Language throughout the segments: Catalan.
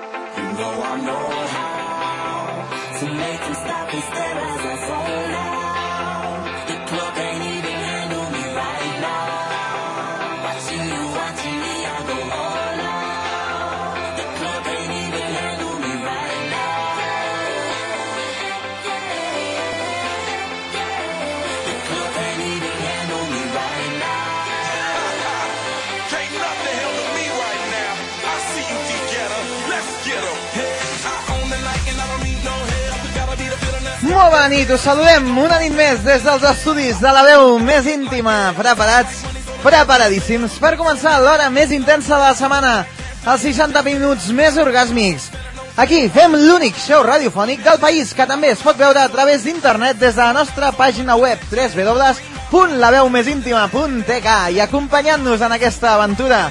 know I know how to make them stop and stare as I fall out. The club ain't even handle me right now. Watching you, watching me, I go all out. The club ain't even handle me right now. The club ain't even handle me right now. Can't nothing handle me right now. I see you, D getter. Let's get 'em. I own the night and I don't need no help. Gotta be the villain. Molt bona nit, us saludem una nit més des dels estudis de la veu més íntima. Preparats, preparadíssims per començar l'hora més intensa de la setmana. Els 60 minuts més orgàsmics. Aquí fem l'únic show radiofònic del país que també es pot veure a través d'internet des de la nostra pàgina web www.laveumésíntima.tk i acompanyant-nos en aquesta aventura.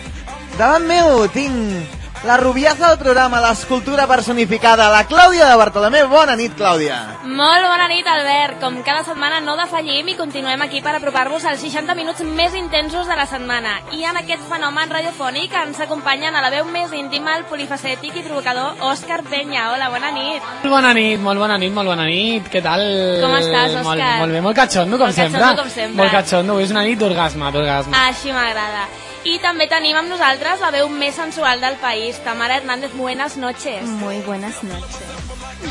Davant meu tinc la rubiaza del programa, l'escultura personificada, la Clàudia de Bartolomé. Bona nit, Clàudia. Molt bona nit, Albert. Com cada setmana no defallim i continuem aquí per apropar-vos als 60 minuts més intensos de la setmana. I en aquest fenomen radiofònic ens acompanyen a la veu més íntima el polifacètic i provocador Òscar Penya. Hola, bona nit. Molt bona nit, molt bona nit, molt bona nit. Què tal? Com estàs, Òscar? Molt, molt bé, molt catxondo, com Molt sempre. catxondo, com sempre. Ah. Molt catxondo, avui és una nit d'orgasme, d'orgasme. Així m'agrada. I també tenim amb nosaltres la veu més sensual del país, Tamara Hernández. Buenas noches. Muy buenas noches.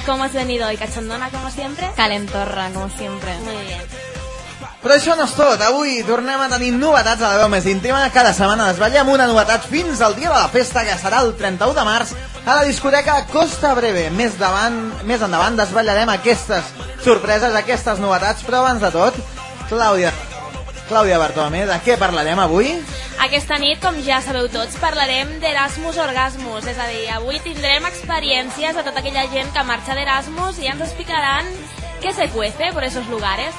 Com has venido hoy, cachondona, como siempre? Calentorra, como siempre. Muy bien. Però això no és tot. Avui tornem a tenir novetats a la veu més íntima. Cada setmana desvetllem una novetat fins al dia de la festa, que serà el 31 de març, a la discoteca Costa Breve. Més, davant, més endavant desvetllarem aquestes sorpreses, aquestes novetats, però abans de tot, Clàudia, Clàudia Bartolomé, de què parlarem avui? Aquesta nit, com ja sabeu tots, parlarem d'Erasmus Orgasmus, és a dir, avui tindrem experiències de tota aquella gent que marxa d'Erasmus i ens explicaran què E se cuece por esos lugares.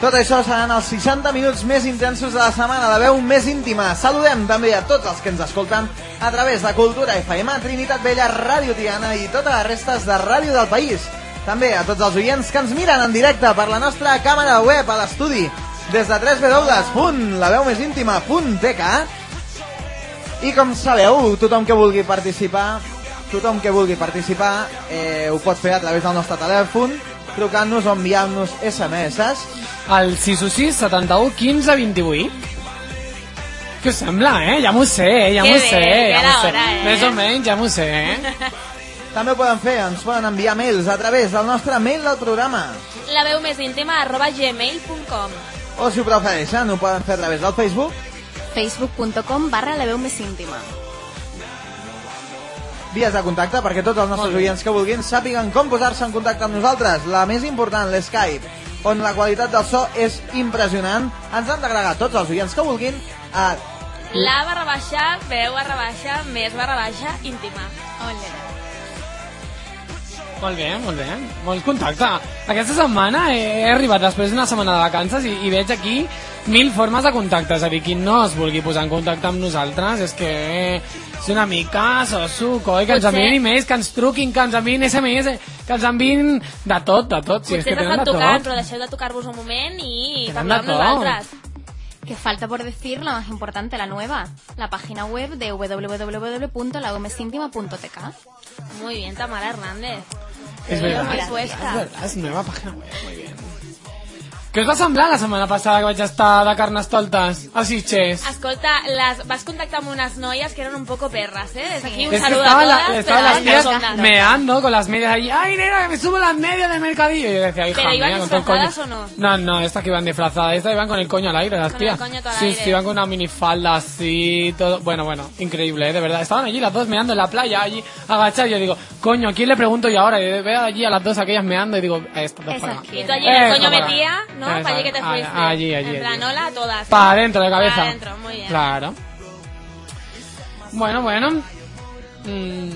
Tot això seran els 60 minuts més intensos de la setmana, la veu més íntima. Saludem també a tots els que ens escolten a través de Cultura FM, Trinitat Vella, Ràdio Tiana i totes les restes de ràdio del país. També a tots els oients que ens miren en directe per la nostra càmera web a l'estudi des de www.laveumésíntima.tk i com sabeu, tothom que vulgui participar, tothom que vulgui participar eh, ho pot fer a través del nostre telèfon trucant-nos o enviant-nos SMS El 606 71 15 28. Què us sembla, eh? Ja m'ho sé, eh? ja Que m'ho bé, sé. que ja era m'ho sé. hora, eh? Més o menys, ja m'ho sé, eh? També ho poden fer, ens poden enviar mails a través del nostre mail del programa. La veu més íntima arroba gmail.com O si ho prefereixen, ho poden fer a través del Facebook, Facebook.com barra la veu més íntima. vies de contacte, perquè tots els nostres oients que vulguin sàpiguen com posar-se en contacte amb nosaltres. La més important, l'Skype, on la qualitat del so és impressionant. Ens han d'agregar tots els oients que vulguin a La barra baixa, veu barra baixa, més barra baixa, íntima. Ole. Molt bé, molt bé. Molt contacte. Aquesta setmana he, he arribat després d'una setmana de vacances i, i veig aquí mil formes de contacte. És a dir, qui no es vulgui posar en contacte amb nosaltres és que és una mica sosu, coi, que ens Potser- enviïn més, que ens truquin, que ens enviïn SMS, que ens enviïn de tot, de tot. Si és Potser ens que estan tenen de tocant, tot. però deixeu de tocar-vos un moment i Tenen parleu amb de tot. nosaltres. Que falta por decir la más importante, la nueva. La página web de www.laveumesíntima.tk. Muy bien, Tamara Hernández. És Muy veritat. Pues, puesta. És veritat, és nova pàgina web, muy bien. Què us va semblar la setmana passada que vaig estar de carnestoltes a Sitges? Escolta, las, vas contactar con unas noias que eran un poco perras, ¿eh? Desde aquí un Es que saludo estaba, a la- todas, estaba pero las en tías persona. meando con las medias ahí. ¡Ay, nena, que me subo las medias del mercadillo! Y yo decía, hija ¿Pero iban mía, con todo el coño. disfrazadas o no? No, no, estas que iban disfrazadas, estas iban con el coño al aire, las Con el tías. coño todo al sí, aire. sí, iban con una minifalda así, todo. Bueno, bueno, increíble, ¿eh? de verdad. Estaban allí las dos meando en la playa, allí agachadas. Yo digo, coño, ¿a quién le pregunto yo ahora? Y veo allí a las dos aquellas meando y digo, a estas dos Esas para acá. quieren. Tú allí en el Eh, coño para- metía, ¿no? Exacto. Para allí que te Ah, fuiste. Allí, allí. En plan, allí. hola a todas. Para adentro de cabeza. Para adentro, muy bien. Claro. Bueno, bueno. Mm.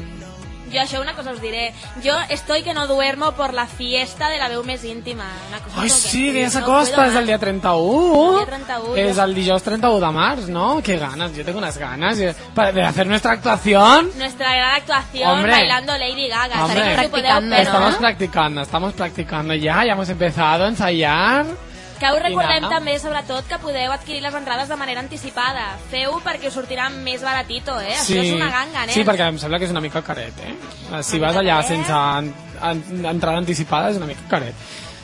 Yo això una cosa os diré. Yo estoy que no duermo por la fiesta de la veu més íntima. Una cosa Ai, com que sí, que ja Pues, este no s'acosta, puedo és el dia más. 31. El dia 31, És ja. el dijous 31 de març, no? Que ganas, yo tengo unas ganas eh, para- de hacer nuestra actuación. Nuestra gran actuación Hombre. bailando Lady Gaga. Estaremos en el Hombre. grupo de Practicando, ópera, estamos ¿no? practicando, estamos practicando ya, ya hemos empezado a ensayar. Que us recordem Vinga. també, sobretot, que podeu adquirir les entrades de manera anticipada. Feu perquè us sortirà més baratito, eh? Això és una ganga, nen. Sí, perquè em sembla que és una mica caret, eh? Si vas allà sense en, en, entrada anticipada és una mica caret.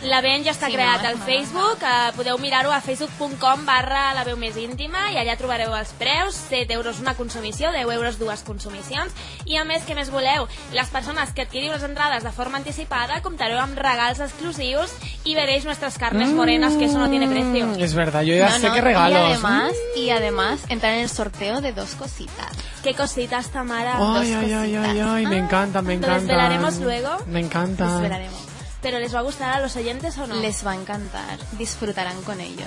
L'event ja està Sí, creat no, al no, Facebook, eh, podeu mirar-ho a facebook.com barra la veu més íntima i allà trobareu els preus, 7 euros una consumició, 10 euros dues consumicions i a més, què més voleu? Les persones que adquiriu les entrades de forma anticipada comptareu amb regals exclusius i veréis nuestras Mm. carnes morenas que eso no tiene precio. Mm, Es verdad, yo ya No, sé no, que regalos. ¿eh? Y además, y además entrar en el sorteo de dos cositas. Qué cositas, Tamara. Ay, ay, ay, ay, ay, me encanta, me ¿Lo encanta. desvelaremos luego? Pues, Me encanta. Esperaremos. ¿Pero les va a gustar a los oyentes o no? Les va a encantar. Disfrutarán con ello.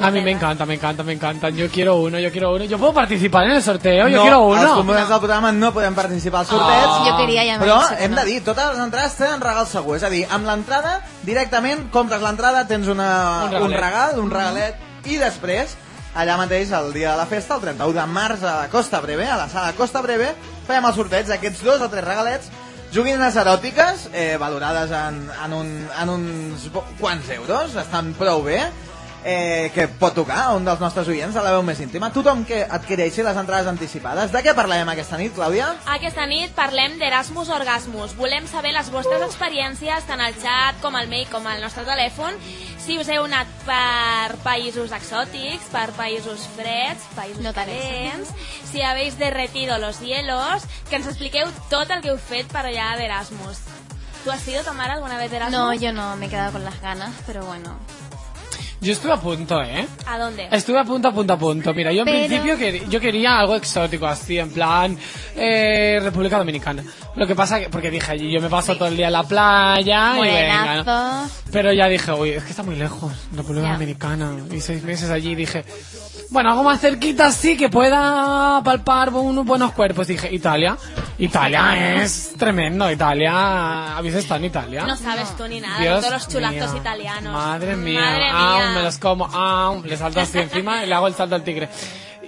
A mí me encanta, me encanta, me encanta. Yo quiero uno, yo quiero uno. Yo puedo participar en el sorteo, yo quiero els uno. Ah. components del programa no podem participar als sorteig. Jo queria ja Però m'he dit hem no. de dir, totes les entrades tenen regal segur. És a dir, amb l'entrada, directament, compres l'entrada, tens una, Un un, regalet. Mhm. regal, un regalet, i després, allà mateix, el dia de la festa, el 31 de març, a la Costa Breve, a la sala Costa Breve, fem el sorteig d'aquests dos o tres regalets, joguines eròtiques, eh, valorades en, en, un, en uns bo- quants euros, estan prou bé, eh, que pot tocar a un dels nostres oients de la veu més íntima. Tothom que adquireixi les entrades anticipades. De què parlarem aquesta nit, Clàudia? Aquesta nit parlem d'Erasmus Orgasmus. Volem saber les vostres experiències, tant al xat com al mail com al nostre telèfon. Si us heu anat per països exòtics, per països freds, països No tant. calents, si habéis derretido los hielos, que ens expliqueu tot el que heu fet per allà d'Erasmus. Tu has sido, Tamara, alguna vez de Erasmus? No, yo no, me he quedado con las ganas, pero bueno. Yo estuve a punto, ¿eh? ¿A dónde? Estuve a punto, a punto, a punto. Mira, yo en Pero- principio quer- yo quería algo exótico, así, en plan eh, República Dominicana. Lo que pasa que, porque dije, allí yo me paso todo el día en la playa y venga. ¿no? Morenazos. Pero ya dije, uy, es que está muy lejos, República Ya. Dominicana. Y seis meses allí dije, bueno, algo más cerquita sí que pueda palpar unos buenos cuerpos. Dije, Italia. Italia es tremendo, Italia. ¿Habéis estado en Italia? No sabes tú ni nada, Dios de todos los chulactos mío. italianos. Madre mía, Madre Aún mía. me los como, aún le salto así encima y le hago el salto al tigre.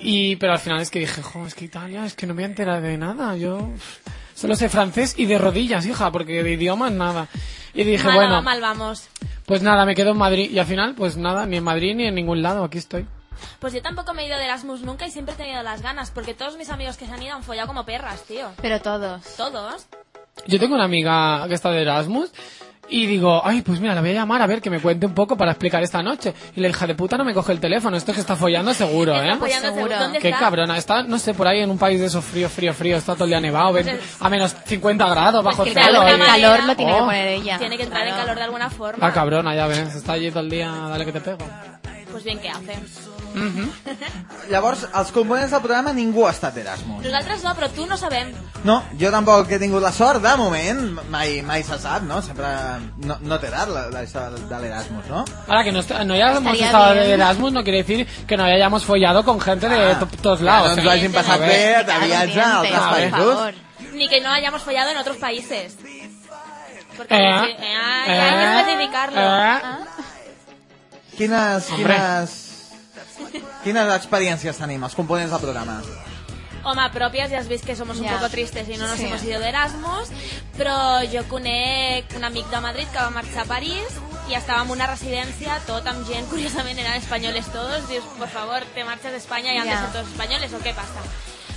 Y, pero al final es que dije, jo, es que Italia, es que no me voy a enterar de nada, yo solo sé francés y de rodillas, hija, porque de idiomas nada. Y dije, Mal, bueno, mal vamos. pues nada, me quedo en Madrid y al final, pues nada, ni en Madrid ni en ningún lado, aquí estoy. Pues yo tampoco me he ido de Erasmus nunca y siempre he tenido las ganas, porque todos mis amigos que se han ido han follado como perras, tío. Pero todos. Todos. Yo tengo una amiga que está de Erasmus y digo, ay, pues mira, la voy a llamar a ver que me cuente un poco para explicar esta noche. Y la hija de puta no me coge el teléfono, esto es que está follando seguro, ¿eh? Está apoyando Pues seguro. seguro. ¿Dónde Qué está? cabrona, está, no sé, por ahí en un país de esos frío, frío, frío, está todo el día nevado, ven- Pues- a menos 50 grados bajo que cero. claro, y- el calor lo tiene que Oh. poner ella. Tiene que entrar en calor de alguna forma. La cabrona, ya ves, está allí todo el día, dale que te pego. Pues bien, ¿qué hace? Llavors, els components del programa ningú ha estat Erasmus. Nosaltres no, però tu no sabem. No, jo tampoc he tingut la sort, de moment, mai, mai se sap, no? Sempre no, no té edat la, la, això de l'Erasmus, no? Ahora que no, est- no hayamos Estaría estado de bien. Erasmus no quiere decir que no hayamos follado con gente de to- todos lados. Ah, Que ¿eh? no ens ho hagin A passat ver. bé, de viatge a altres A ver. països. Ni que no hayamos follado en otros países. Porque Eh, sí, eh, ah, ya hay que eh, especificarlo. Ah. eh. Quines, Hombre. quines, quines experiències tenim, els components del programa? Home, pròpies, ja has vist que som un Ja. poco tristes i no nos Sí. hemos ido de Erasmus, però jo conec un amic de Madrid que va marxar a París i estava en una residència, tot amb gent, curiosament eren espanyoles todos, dius, por favor, te marxes d'Espanya i han de Ja. ser todos españoles, o què passa?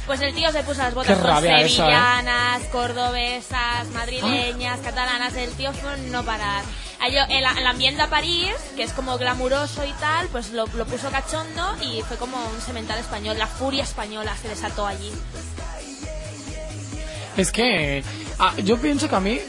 Pues el tío se puso las botas Qué con rabia eso, eh. sevillanas, cordobesas, madrileñas, catalanas, el tío fue un no parar. Allò, el, el ambiente de París, que es como glamuroso y tal, pues lo, lo puso cachondo y fue como un semental español, la furia española se desató allí. Es que eh, ah, yo pienso que a mí,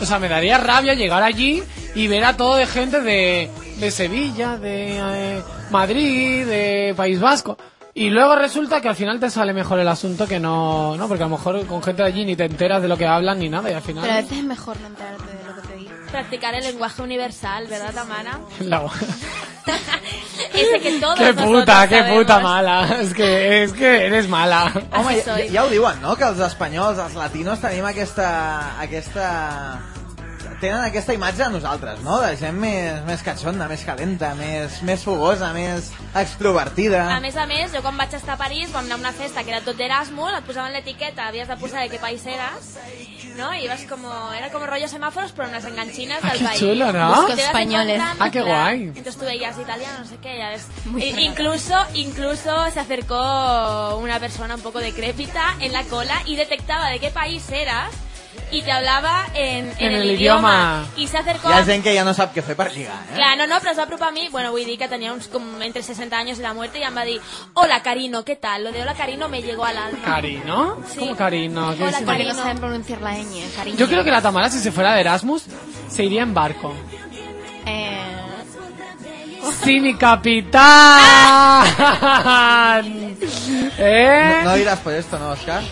o sea, me daría rabia llegar allí y ver a todo de gente de, de Sevilla, de eh, Madrid, de País Vasco. Y luego resulta que al final te sale mejor el asunto que no, no, porque a lo mejor con gente de allí ni te enteras de lo que hablan ni nada y al final... Pero a veces es mejor no enterarte de lo que te digo. Practicar el lenguaje universal, ¿verdad, Tamara? La- Ese que todos qué nosotros puta, qué sabemos. puta mala. Es que, es que eres mala. Home, Així ja, soy. ja ho diuen, no? Que els espanyols, els latinos, tenim aquesta... aquesta tenen aquesta imatge de nosaltres, no? De gent més, més catxonda, més calenta, més, més fogosa, més extrovertida. A més a més, jo quan vaig estar a París, vam anar a una festa que era tot d'Erasmus, et posaven l'etiqueta, havies de posar de qué país eras, no? I vas com... Era com rollo semàfors, però amb les enganxines Ah, del qué país. chulo, Y ¿no? te das Españoles. cuenta, Ah, qué claro. guay. Entonces tú veías italiano, no sé qué, ya ves. Muy E- fregada. incluso, incluso se acercó una persona un poco decrépita en la cola y detectaba de qué país eras y te hablaba en, en En el, el idioma. I se acercó... Hi ha amb- gent que ja no sap què fer per lligar, eh? Clar, no, no, però es va apropar a mi, bueno, vull dir que tenia uns com entre 60 anys i la muerte i em va dir, hola Carino, ¿qué tal? Lo de hola Carino me llegó al alma. Cari, ¿no? Sí. Como Cari, no. ¿qué Hola, es? Porque Cari. no saben pronunciar la ñ, cariño. Yo creo que la Tamara, si se fuera de Erasmus, se iría en barco. Eh, ¡Sí, mi capitán! ¿Eh? No diràs per esto, no, Òscar?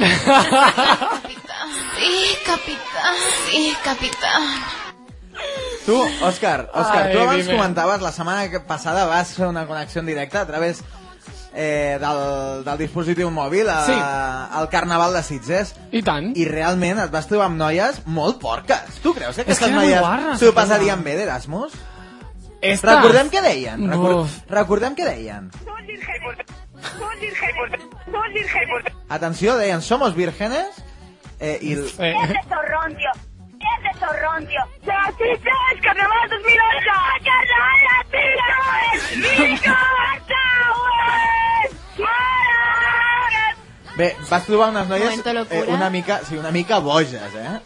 capitán, sí, capitán, sí, capitán. Tu, Òscar, Òscar, Ai, tu abans dime. comentaves, la setmana que- passada vas fer una connexió en directe a través eh, del, del dispositiu mòbil a, Sí. al Carnaval de Sitges I tant. i realment et vas trobar amb noies molt porques. Tu creus que És que aquestes eren molt guarres, noies s'ho aquella. passarien bé d'Erasmus? Estas- Recordem què deien. Recor Buf. recordem què deien. Atenció, deien, somos vírgenes eh, i l- Eh, ¡Ese zorrón, tío! ¡Ese zorrón, tío! ¡Las es Carnaval 2008! ¡Carnaval Latino! ¡Mico Barça! ¡Mara! Bé, vas trobar unes noies eh, Momento locura. una mica, sí, una mica boges, eh?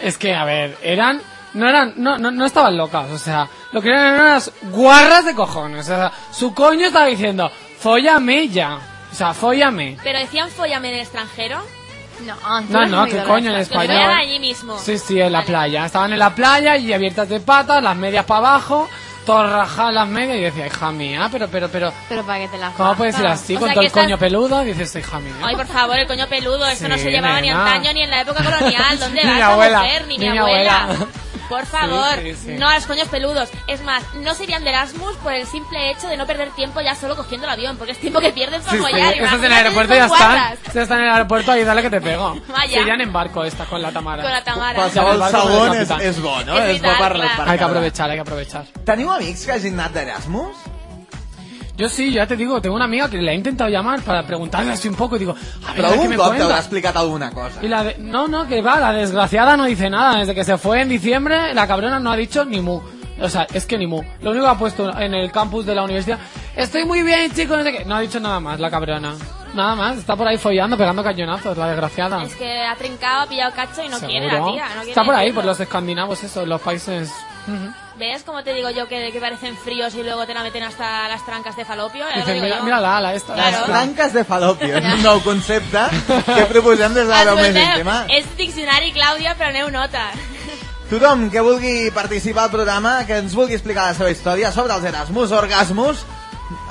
es que, a ver, eran... No eran, no, no, no estaban locas, o sea, lo que eran eran unas guarras de cojones, o sea, su coño estaba diciendo, fóllame ya, o sea, fóllame. Pero decían follame en el extranjero. No, tú No, eres no, muy qué dolorosa. coño, en Pero eran español. allí mismo. Sí, sí, en la playa. Estaban en la playa y abiertas de patas, las medias para abajo, todas rajadas las medias y decía, hija mía, pero, pero, pero, Pero para que te la ¿cómo puede puedes ser así O con sea, todo que el coño estás- peludo? Dices, hija mía. Ay, por favor, el coño peludo, eso Sí, no se llevaba ni nena. antaño ni en la época colonial. ¿Dónde Ni vas, mi abuela, mujer? Ni, mi ni mi abuela. abuela. Por favor, Sí, sí, sí. no a los coños peludos. Es más, no serían de Erasmus por el simple hecho de no perder tiempo ya solo cogiendo el avión, porque es tiempo que pierden por Sí, sí, follar. Estas en el Imagínate aeropuerto si ya son están. guarras. Estas están en el aeropuerto ahí, dale que te pego. Vaya. Se irían en barco estas con la Tamara. Con la Tamara. Pues Qualsevol Barco del segon és, capitán. és bo, no? És És, bo vital, per, clar. per Hay que quedar. aprovechar, hay que aprovechar. Teniu amics que hagin anat d'Erasmus? Yo sí, ya te digo, tengo una amiga que le he intentado llamar para preguntarle así un poco y digo, a ver, Però a ver qué algun me cop t'haurà cuenta. explicat alguna cosa. Y la de- No, no, que va, la desgraciada no dice nada. Desde que se fue en diciembre, la cabrona no ha dicho ni mu. O sea, es que ni mu. Lo único que ha puesto en el campus de la universidad, estoy muy bien, chicos, no sé qué. No ha dicho nada más, la cabrona. Nada más, está por ahí follando, pegando cañonazos, la desgraciada. Es que ha trincado, ha pillado cacho y no Seguro. quiere la tía. No quiere está por ahí, decirlo. por los escandinavos, eso, los países. Ujú. ¿Ves cómo te digo yo que, que parecen fríos y luego te la meten hasta las trancas de falopio? Ya lo Dicen, digo mira, yo. mira la ala, esta. Claro. esta". Branques de falòpio, un nou concepte que proposem des de la veu més Escolteu, íntima. és diccionari, Clàudia, preneu nota. Tothom que vulgui participar al programa, que ens vulgui explicar la seva història sobre els Erasmus, Orgasmus,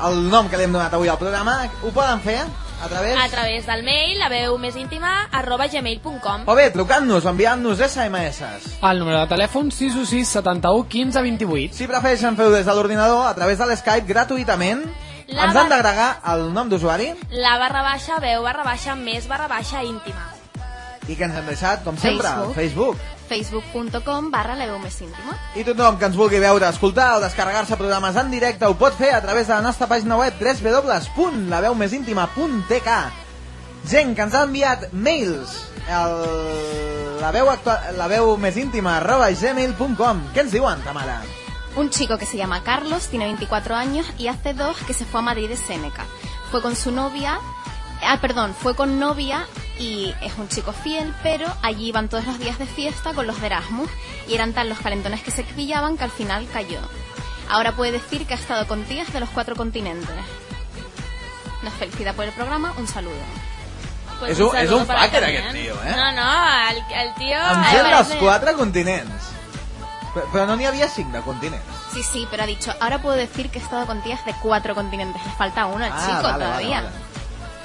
el nom que li hem donat avui al programa, ho poden fer a través... A través del mail, la veu més íntima, arroba gmail.com. O bé, trucant-nos o enviant-nos SMS. Al número de teléfono 616 71 15 28. Si prefereixen fer-ho des de l'ordinador, a través de l'Skype, gratuïtament, La ens va- han d'agregar el nom d'usuari La barra baixa, veu barra baixa, més barra baixa íntima. i que ens han deixat, com sempre, al Facebook. Facebook.com barra la veu més íntima. I tothom que ens vulgui veure, escoltar o descarregar-se programes en directe ho pot fer a través de la nostra pàgina web www.laveumésíntima.tk Gent que ens ha enviat mails el... la veu, actua... la veu més íntima arroba gmail.com Què ens diuen, Tamara? Un chico que se llama Carlos, tiene 24 años y hace dos que se fue a Madrid de Seneca. Fue con su novia, ah, perdón, fue con novia y es un chico fiel, pero allí iban todos los días de fiesta con los de Erasmus y eran tan los calentones que se pillaban que al final cayó. Ahora puede decir que ha estado con tías de los cuatro continentes. Nos felicita por el programa, un saludo. Pues És un- és saludo un para fucker, también. aquest tio, eh? No, no, el, el tío... Amb eh, gent dels parece- quatre continents. Però, però no n'hi havia cinc de continents. Sí, sí, pero ha dicho, ahora puedo decir que he estado con tías de cuatro continentes. Le falta uno Ah, al chico todavía.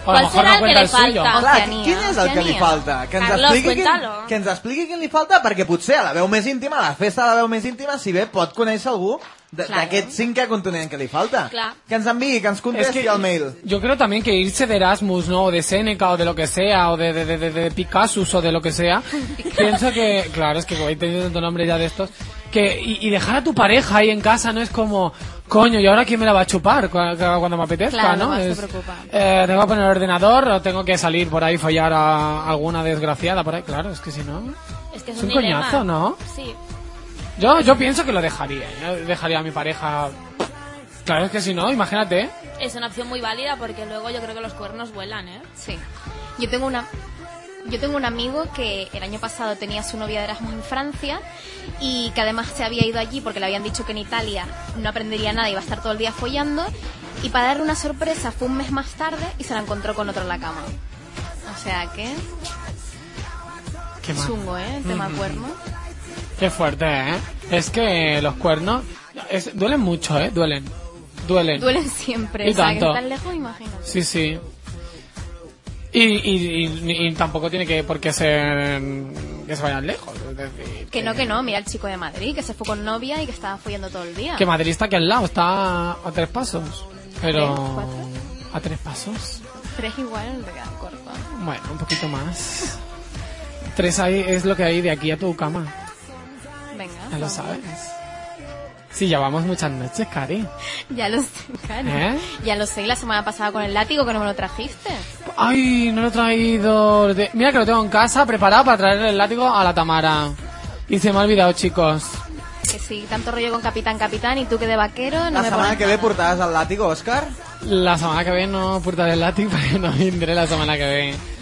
O a ¿Cuál lo mejor será no el que cuenta le el suyo. falta? Clar, Oceania, quin és el que li Oceania. falta? Que ens, Carlos, expliqui quin, cuéntalo. que ens expliqui quin li falta, perquè potser a la veu més íntima, a la festa de la veu més íntima, si bé pot conèixer algú de- Claro. d'aquest cinquè continent que li falta. Clar. Que ens enviï, que ens contesti al mail. Yo creo también que irse de Erasmus, ¿no? O de Seneca, o de lo que sea, o de, de, de, de- de Picasso, o de lo que sea. pienso que, claro, es que voy teniendo tanto nombre ya de estos. Que, y, y dejar a tu pareja ahí en casa no es como, coño, ¿y ahora quién me la va a chupar cu- cu- cuando, me apetezca, Claro, no? más te Es, preocupa. eh, tengo que poner el ordenador o tengo que salir por ahí follar a alguna desgraciada por ahí. Claro, es que si no. És que és, És un dilema. coñazo, no? Sí. Yo, yo pienso que lo dejaría, ¿eh? Dejaría a mi pareja. Claro, es que si no, imagínate. ¿eh? Es una opción muy válida porque luego yo creo que los cuernos vuelan, ¿eh? Sí. Yo tengo una. Yo tengo un amigo que el año pasado tenía a su novia de Erasmus en Francia y que además se había ido allí porque le habían dicho que en Italia no aprendería nada y iba a estar todo el día follando. Y para darle una sorpresa fue un mes más tarde y se la encontró con otro en la cama. O sea que. Qué mal. Chungo, ¿eh? El tema cuerno. Qué fuerte, ¿eh? Es que los cuernos es- duelen mucho, ¿eh? Duelen. Duelen. Duelen siempre. Y o sea, tanto. que tan lejos, imagínate. Sí, sí. Y, y, y- y tampoco tiene que por qué ser mm, que se vayan lejos. es decir, Que no, que no. Mira el chico de Madrid que se fue con novia y que estaba follando todo el día. Que Madrid está aquí al lado, está a tres pasos. Pero... ¿Tres, cuatro? ¿A tres pasos? Tres igual, de corto. Bueno, un poquito más. tres ahí es lo que hay de aquí a tu cama. Venga. Ya lo vamos. sabes. Sí, ya vamos muchas noches, Cari. Ya lo sé, claro. ¿Eh? Ya lo sé, y la semana pasada con el látigo que no me lo trajiste. Ay, no lo he traído. Lo te- Mira que lo tengo en casa preparado para traer el látigo a la Tamara. Y se me ha olvidado, chicos. Que sí, tanto rollo con Capitán Capitán y tú que de vaquero, no La me setmana pones que ve nada. portaràs el làtigo, Òscar? La semana que viene no portaré el látigo porque no vendré la semana que viene.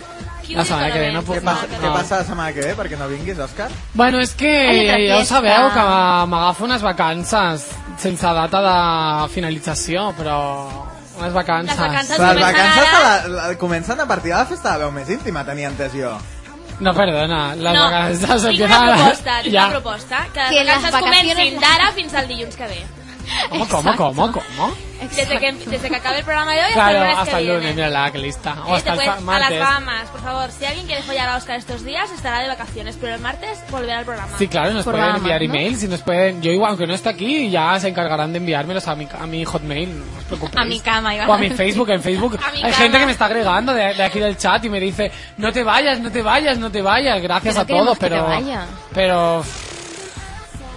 La semana que ve no Què puc- passa, no. què passa la setmana que ve perquè no vinguis, Òscar? Bueno, és que Ai, ja altra ho fiesta. sabeu, que m'agafo unes vacances sense data de finalització, però unes vacances. Les vacances Les comencen vacances te ara. la, la, comencen a partir de la festa de la veu més íntima, tenia entès jo. No, perdona, les no, vacances tinc empiezan... a una la- proposta, tinc Ja. una proposta. Que, Que les les vacances vacaciones- comencin d'ara fins al dilluns que ve. ¿Cómo, cómo, cómo, cómo? pues. Desde que, desde que acabe el programa de hoy hasta el lunes Claro, que hasta el lunes, viene. mira la que lista. O Y hasta el después, fa- a las martes. Bahamas, por favor. Si alguien quiere follar a Oscar estos días, estará de vacaciones, pero el martes volverá al programa. Sí, claro, nos Por pueden Bahamas, enviar ¿no? emails y nos pueden... Yo igual, aunque no esté aquí, ya se encargarán de enviármelos a mi, a mi hotmail, no os preocupéis. A mi cama, iba O a a mi decir. Facebook, en Facebook. A mi Hay cama. gente que me está agregando de, de aquí del chat y me dice, no te vayas, no te vayas, no te vayas. Gracias Que no a todos, queremos que te pero... vaya. Pero...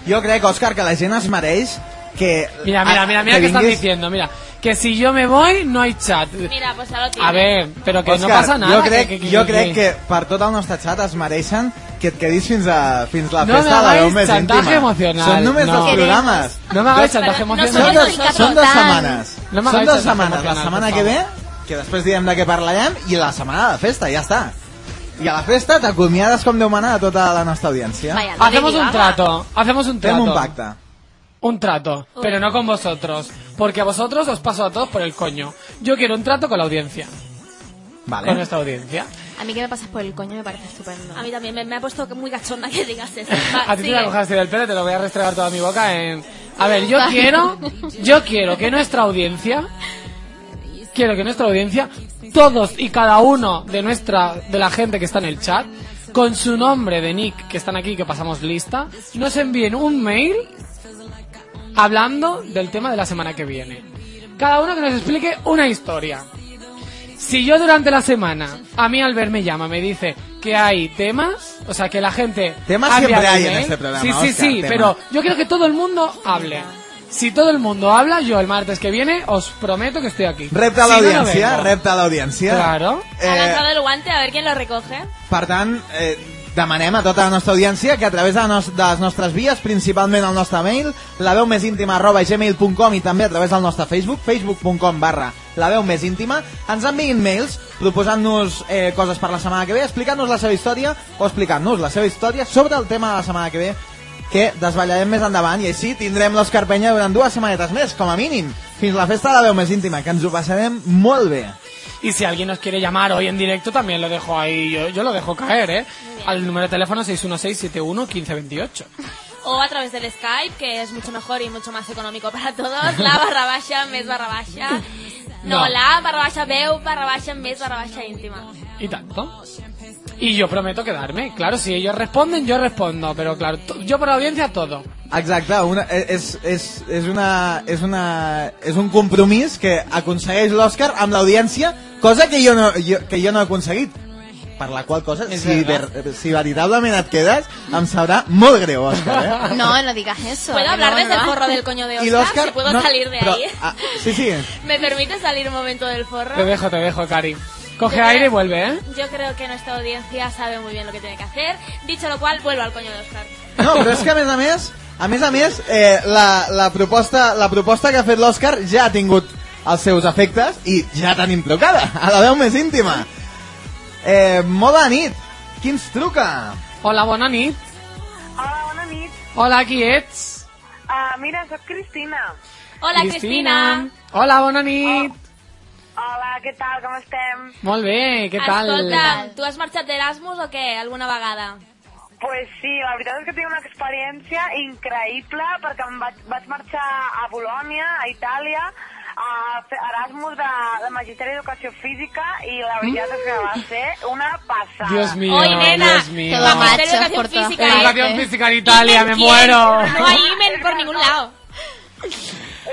Jo crec, Òscar, que la gent es mereix que... Mira, mira, mira, mira que qué están vinguis- diciendo, mira. Que si yo me voy, no hay chat. Mira, pues ya lo tiene. A ver, pero que no Òscar, pasa nada. Jo crec, que- jo crec que per tot el nostre xat es mereixen que et quedis fins a fins la No festa de la veu m'hagáis més chantaje íntima. emocional, Són només no. dos programes. No me hagáis Dos- chantaje Pero no emocional. soy Són Soy dos, Ricardo són dos Tan. setmanes. No m'hagáis són dos chantaje setmanes. La emocional, setmana por que ve, favor. que després direm de què parlarem, i la setmana de la festa, ja està. I a la festa t'acomiades com Déu mana a tota la nostra audiència. Vaya, Lady Hacemos un Gaga. trato, hacemos un trato. Fem un pacte. Un trato, pero no con vosotros. Porque a vosotros os paso a todos por el coño. Yo quiero un trato con la audiencia. Con Vale. nuestra audiencia. A mí que me pasas por el coño me parece estupendo. A mí también me, me ha puesto muy cachonda que digas eso. Va, A ti te sigue. la cojaste del pelo, te lo voy a restregar toda mi boca en... A ver, yo quiero, yo quiero que nuestra audiencia, quiero que nuestra audiencia, todos y cada uno de nuestra, de la gente que está en el chat, con su nombre de nick que están aquí, que pasamos lista, nos envíen un mail hablando del tema de la semana que viene. Cada uno que nos explique una historia. Si yo durante la semana, a mí Albert me llama, me dice que hay temas, o sea, que la gente... Temas ha siempre enviado hay en email. este programa, Sí, sí, Óscar, sí, temas. pero yo creo que todo el mundo hable. Si todo el mundo habla, yo el martes que viene os prometo que estoy aquí. Repte a Si no, no l'audiència, vengo. repte a l'audiència. Claro. Ha Eh, lanzado el guante a ver quién lo recoge. Per tant, eh, demanem a tota la nostra audiència que a través de, la nos de les nostres vies, principalment el nostre mail, la veu més íntima arroba gmail.com i també a través del nostre Facebook, facebook.com barra la veu més íntima, ens enviïn mails proposant-nos eh, coses per la setmana que ve, explicant-nos la seva història o explicant-nos la seva història sobre el tema de la setmana que ve que desballarem més endavant i així tindrem l'Òscar Penya durant dues setmanetes més, com a mínim, fins la festa de la veu més íntima, que ens ho passarem molt bé. Y si alguien nos quiere llamar hoy en directo, también lo dejo ahí, yo, yo lo dejo caer, ¿eh? Al número de teléfono 616-71-1528. O a través del Skype, que es mucho mejor y mucho más económico para todos. La barra baixa, mes barra baixa. No, No. la barra baixa veu, barra baixa, mes barra baixa íntima. Y tanto. y yo prometo quedarme. Claro, si ellos responden, yo respondo. Pero claro, to- yo por audiencia todo. Exacte, una, e, és, és, és, una, és, una, és un compromís que aconsegueix l'Oscar amb l'audiència, cosa que jo, no, jo, que jo no he aconseguit. Per la qual cosa, És si, ver, verdad. si veritablement et quedes, em sabrà molt greu, Òscar, eh? No, no digas eso. ¿Puedo que hablar no, desde no. el forro del coño de Oscar? Si puedo salir de però- ahí. Ah, sí, sí. ¿Me permite salir un momento del forro? Te dejo, te dejo, Cari. Coge Yo aire y creo- vuelve, ¿eh? Yo creo que nuestra audiencia sabe muy bien lo que tiene que hacer. Dicho lo cual, vuelvo al coño de Oscar. No, però és que a més a més, a més a més, eh, la, la, proposta, la proposta que ha fet l'Òscar ja ha tingut els seus efectes i ja tenim trucada, a la veu més íntima. Eh, molt bona nit, qui ens truca? Hola, bona nit. Hola, bona nit. Hola, qui ets? Uh, mira, sóc Cristina. Hola, Cristina. Hola, bona nit. Hola, què tal, com estem? Molt bé, què tal? Escolta, ¿tú has marchado de Erasmus o qué? ¿Alguna vagada? Pues sí, la veritat és que tinc una experiència increïble perquè em vaig, vaig marxar a Bolònia, a Itàlia, a fer Erasmus de, de Magisteri d'Educació Física i la veritat és que va ser una passada. Dios mío, Hoy, nena, Dios mío. Te va Magisterio de machas Educación por todas Física, partes. Educación física en Italia, me ¿Imen quién? muero. No hay imen por ningún lado.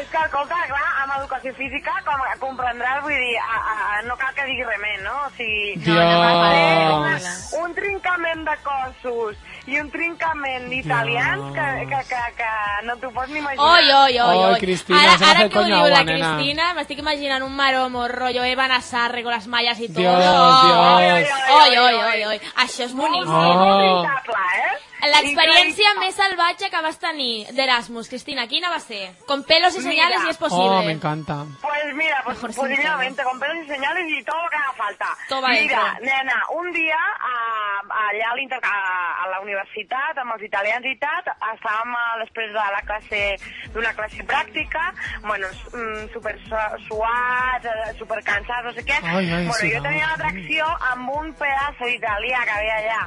És que, escolta, clar, amb Educació Física, com comprendràs, vull dir, a, a, a- no cal que digui res més, no? O sigui, Dios. va ser una, un trincament de cossos i un trincament d'italians que, que, que, que no t'ho pots ni imaginar. Oi, oi, oi, Oi, oi. Cristina, ara, se m'ha ara fet que ho conya diu la agua, nena. Cristina, m'estic imaginant un maromo, rotllo Eva Nassarre, con les malles i tot. Dios, Oh, Dios. Oi, oi, oi, oi. Això és boníssim. Oh. veritable, eh? L'experiència més salvatge que vas tenir d'Erasmus, Cristina, quina va ser? Con pelos i senyales i és possible. Oh, me encanta. Pues mira, pues positivamente, con pelos y señales y todo lo que haga falta. Todo va mira, dentro. nena, un dia a, allà a, l'inter- a, a la universitat, amb els italians i tal, estàvem a, després de la classe d'una classe pràctica, bueno, s- mm, super su- suats, eh, super cansats, no sé què. Ai, ai, bueno, sí, jo tenia ai. l'atracció amb un pedazo d'italià que havia allà,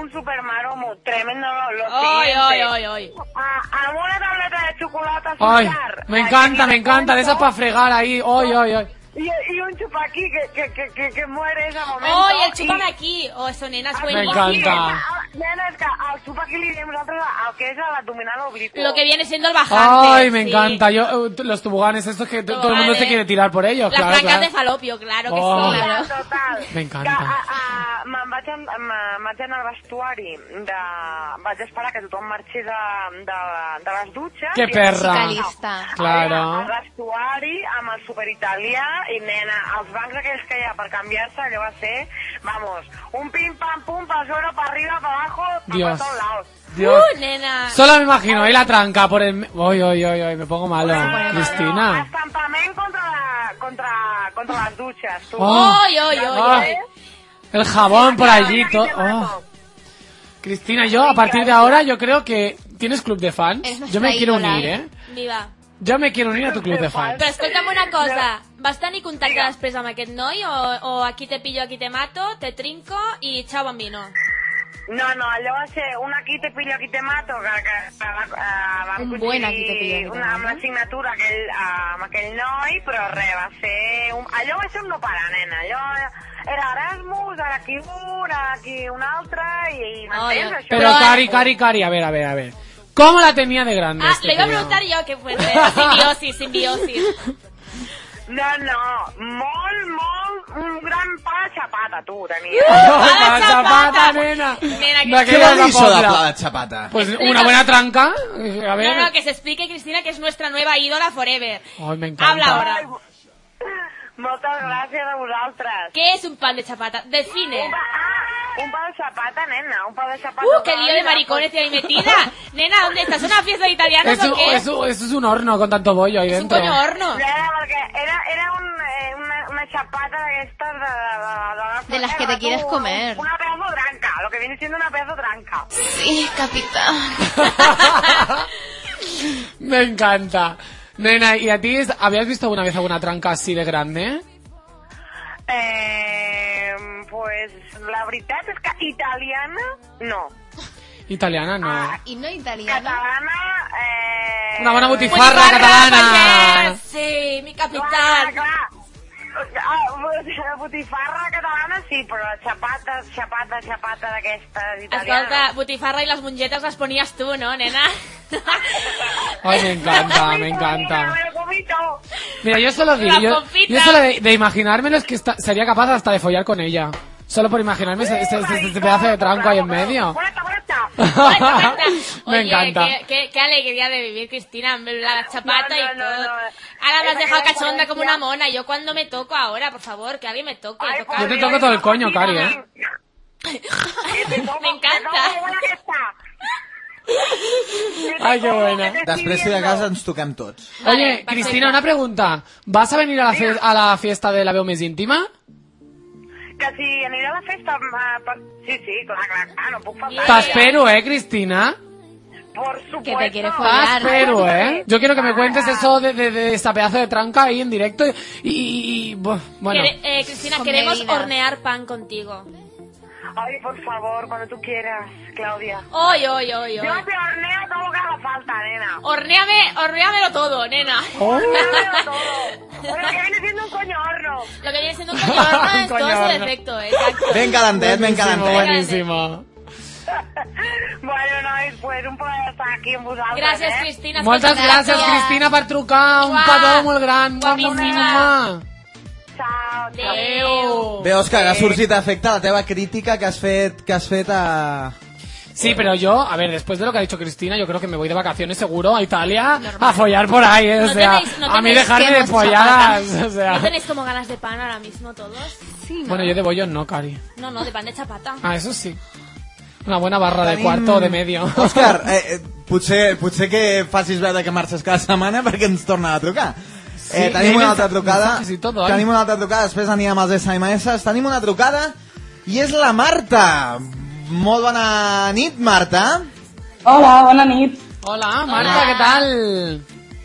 un super maromo, tremendo lo, lo Oi, oi, siguiente. oi, oi. Ah, amb una tableta de xocolata Ay, azúcar. me encanta, me encanta. De esas para fregar ahí. Ay, ay, ay. Y, y un chupa aquí que, que, que, que, que muere ese momento. Oi, el xupa I- d'aquí. Oh, eso, nena, és Me buenísimo. encanta. Sí, eh, Nena, és que al chupa aquí li diem nosaltres al que és l'abdominal oblicuo. Lo que viene siendo el bajante. Ay, me sí. encanta. Yo, eh, t- los tubuganes, estos que t- todo el mundo Vale. se quiere tirar por ellos. Las Claro, francas claro. de falopio, claro que Oh. sí. Total, Claro. total. Me encanta. Que, a, a, me'n vaig, en, me'n vaig anar al vestuari de... Vaig esperar que tothom marxés de, de, de les dutxes. Que I- perra. Psicalista. Claro. Allà, Al vestuari, amb el superitalià, i nena, els bancs aquells que hi ha per canviar-se, allò va ser, vamos, un pim-pam-pum, pel sobre, per arriba, per abajo, per Dios. todos lados. Dios. Uh, nena. Solo me imagino ahí la tranca por el... Ay, ay, ay, ay, me pongo malo. No, Cristina. Estampament contra, la, contra, contra les dutxes, tu. Oh. Oi, oi, oi, Ah, oi. el jabón por allí. to- Te oh. mato. Cristina, yo a partir de ahora yo creo que tienes club de Es fans. nuestra Yo me quiero ídola, unir, ¿eh? ¿eh? Viva. Yo me quiero unir a tu club de fans. Però escolta'm una cosa, vas tenir contacte després amb aquest noi o, o aquí te pillo, aquí te mato, te trinco i xau bambino? No, no, allò va ser un aquí te pillo, aquí te mato, que, que, que va, eh, vam Un buen coincidir aquí te pillo, aquí te una, amb mato. l'assignatura aquell, eh, amb aquell noi, però res, va ser... Un, allò va ser un no parar, nena. Allò era Erasmus, ara aquí un, ara aquí un altre, i, i m'entens, Ai, això? Pero Pero- Cari, Cari, Cari, a ver, a ver, a ver. ¿Cómo la tenía de grande? Ah, este lo iba a tío? preguntar jo, que pues, eh, simbiosis, simbiosis. No, no, molt, molt, un gran pa de xapata, tu, tenies. ¡Para la zapata, zapata! nena! Nena, que- De ¿Qué Què aquella vol dir això de zapata. pla de xapata? Pues Explica- una buena tranca. eh, A No, ver. no, que se explique, Cristina, que es nuestra nueva ídola forever. Ay, me encanta. Habla ahora. Moltes gràcies a vosaltres. ¿Qué es un pan de chapata? Define. Un pa, ah, un pa de xapata, nena, un pa de xapata. ¡Uh, qué lío de maricones tiene ahí metida! Nena, ¿dónde estás? ¿Una fiesta de italianos Eso, o qué? eso, eso es un horno con tanto bollo ahí Es un dentro. coño horno. Era, perquè era, era un, eh, una, una xapata d'aquestes de, de, de, de, De las que te quieres comer. Una pedazo tranca, lo que viene siendo una pedazo tranca. Sí, capitán. Me encanta. Nena, ¿y a ti es- habías visto alguna vez alguna tranca así de grande? Eh, pues la veritat és que italiana, no. Italiana, no. Ah. Y no italiana. Catalana, eh... Una bona Pues, butifarra barra, catalana. payés, Sí, mi Clar, capitán. clar. Ah, botifarra catalana sí, però xapata, xapata, xapata d'aquestes italianes. Escolta, botifarra i les mongetes les ponies tu, no, nena? Ay, me encanta, Ah, me Mira, encanta. me lo comí todo. Mira, yo solo digo, La yo, popita. yo solo de, de imaginármelo es que esta- sería capaz hasta de follar con ella. Solo por imaginarme ese, ese- ese- ese pedazo de tranco ahí en medio. Corta, corta. Cuenta, cuenta. Me Oye, encanta. Qué, qué- qué alegría de vivir, Cristina, la chapata No, no, y no, todo. no. Ahora me has Esa dejado gran cachonda como coherencia. una mona. Yo cuando me toco ahora, por favor, que alguien me toque. Ay, toca- por Yo te Dios, toco todo el coño, cocina, Cari, me- ¿eh? Que te toco, Me encanta. que no, que está. Que te Ay, qué toco, buena. que te estoy Després, si de viendo. casa, ens toquem tots. Vale, Oye, perfecto. Cristina, una pregunta. ¿Vas a venir a la, fie- a la fiesta de la Veo Més Íntima? Que si aniré a la festa... ah, per- Sí, sí, clar, clar, clar, no puc Bien. faltar. T'espero, eh, Cristina. pues Por supuesto. Que te quieres follar. T'espero, eh. Yo quiero que me cuentes eso de, de, de esta pedazo de tranca ahí en directo y... y- y- bu- bueno, Quere- eh, Cristina, Con queremos medidas. hornear pan contigo. Ay, por favor, cuando tú quieras, Claudia. Hoy, hoy, hoy, hoy. Yo te horneo todo lo que haga falta, nena. Horneame, horneamelo todo, nena. Oh. Horneo todo. Bueno, que viene siendo un coño horno. Lo que viene siendo un coño horno en Un coño todo su horno. defecto, exacto. Ben calentet, ben calentet. buenísimo. Bueno, nois, pues un plaer estar aquí amb vosaltres, Gracias, eh? Cristina. Moltes escolta, gràcies, gràcies. Cristina, per trucar. Un Uah, petó molt gran. guapíssima. Chao, chao. Adéu. Bé, Òscar, ha sorgit a efecte la teva crítica que has fet, que has fet a... Sí, pero yo, a ver, después de lo que ha dicho Cristina, yo creo que me voy de vacaciones seguro a Italia a follar por ahí, o No sea, tenéis- no a mí tenéis dejarme que de nos folladas, o ¿No sea. tenéis como ganas de pan ahora mismo todos? Sí, no. Bueno, yo de bollos no, Cari. No, no, de pan de chapata. Ah, eso sí. Una buena barra de Tenim- cuarto o de medio. Òscar, eh, eh, potser, potser que facis veure que marxes cada setmana perquè ens torna a trucar. Sí, Eh, i tenim ell una ens- altra trucada. mensajes i tot, oi? Tenim una altra trucada, després anirem als SMS. Tenim una trucada i és la Marta. Molt bona nit, Marta. Hola, bona nit. Hola, Marta, ¿qué tal?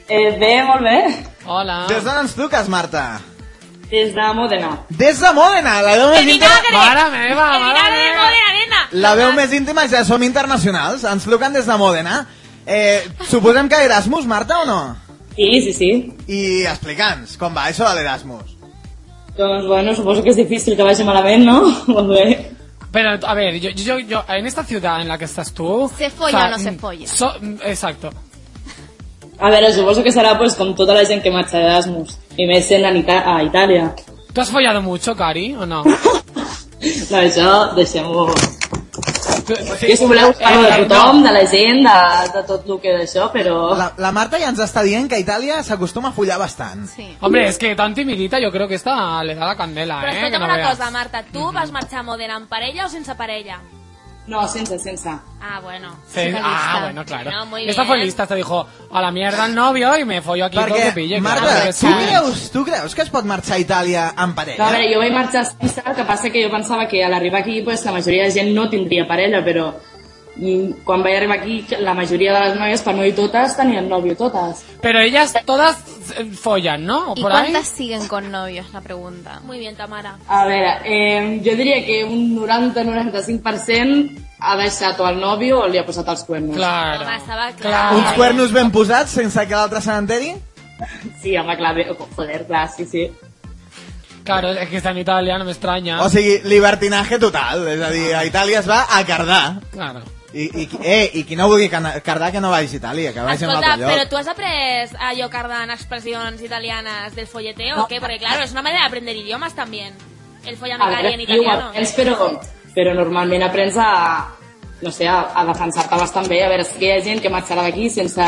Eh, bé, molt bé. Hola. Des d'on ens truques, Marta? Des de Modena. Des de Mòdena, la veu ¡El més íntima... vinagre! Mare meva, ¡El mare vinagre de meva. Modena, Ah, eh, nena! La veu més íntima ja som internacionals, ens truquen des de Mòdena. Eh, suposem que Erasmus, Marta, o no? Sí, sí, sí. I explica'ns com va això de l'Erasmus. Doncs, bueno, suposo que és difícil que vagi malament, no? Molt bé. Pero, a ver, yo, yo, yo, en esta ciudad en la que estás tú... ¿Se folla o no se mm, folla? so- mm, exacto. A veure, suposo que serà pues, com tota la gent que marxa d'Erasmus, i més sent a, Ita a Itàlia. ¿Tú has follado mucho, Cari, o no? No, això, deixem-ho... Tú- Jo si voleu parlo de Eh, no. tothom, de la gent, de, de tot el que d'això, però... La, la Marta ja ens està dient que a Itàlia s'acostuma a follar bastant. Sí. Hombre, es que tan timidita yo creo que esta le da la candela, Però eh, que escolta'm no una veas. cosa, Marta, tu vas marxar a Modena amb parella o sense parella? No, sense, sense. Ah, bueno. Sí, Sí, ah, lista. bueno, claro. No, muy Esta bien. fue lista, te dijo, a la mierda el novio y me follo aquí todo que pille. Perquè, Marta, claro, que tu sí. creus, tu creus que es pot marxar a Itàlia en No, a veure, parella? jo vaig marxar sense, el que passa que jo pensava que a l'arribar aquí pues, la majoria de gent no tindria parella, però mm, quan vaig arribar aquí la majoria de les noies, per no dir totes, tenien nòvio totes. Pero ellas todas eh, follan, ¿no? ¿O ¿Y por ahí? cuántas siguen con novios? La pregunta. Muy bien, Tamara. A veure, eh, jo diria que un 90-95% ha deixat o el nòvio o li ha posat els cuernos. Claro. Home, estava clar. claro. Uns cuernos ben posats sense que l'altre se n'enteri? Sí, home, clar, bé, oh, joder, clar, sí, sí. Claro, es que está en Italia, no me extraña. O sigui, libertinatge total. És a dir, a Itàlia es va a cardar. Claro. I, i, eh, i qui no vulgui cana- cardar que no vagi a Itàlia, que vagi a un Escolta, altre però lloc. tu has ah, après a llocardan expressions italianas del folleteo o qué? Porque claro, es una manera de aprender idiomas también. El A follamecari veure, en sí, ho italiano. ¿eh? aprens, però, però normalment aprens a, no sé, a, a defensar-te bastant bé. A veure, sí que hi ha gent que marxarà d'aquí sense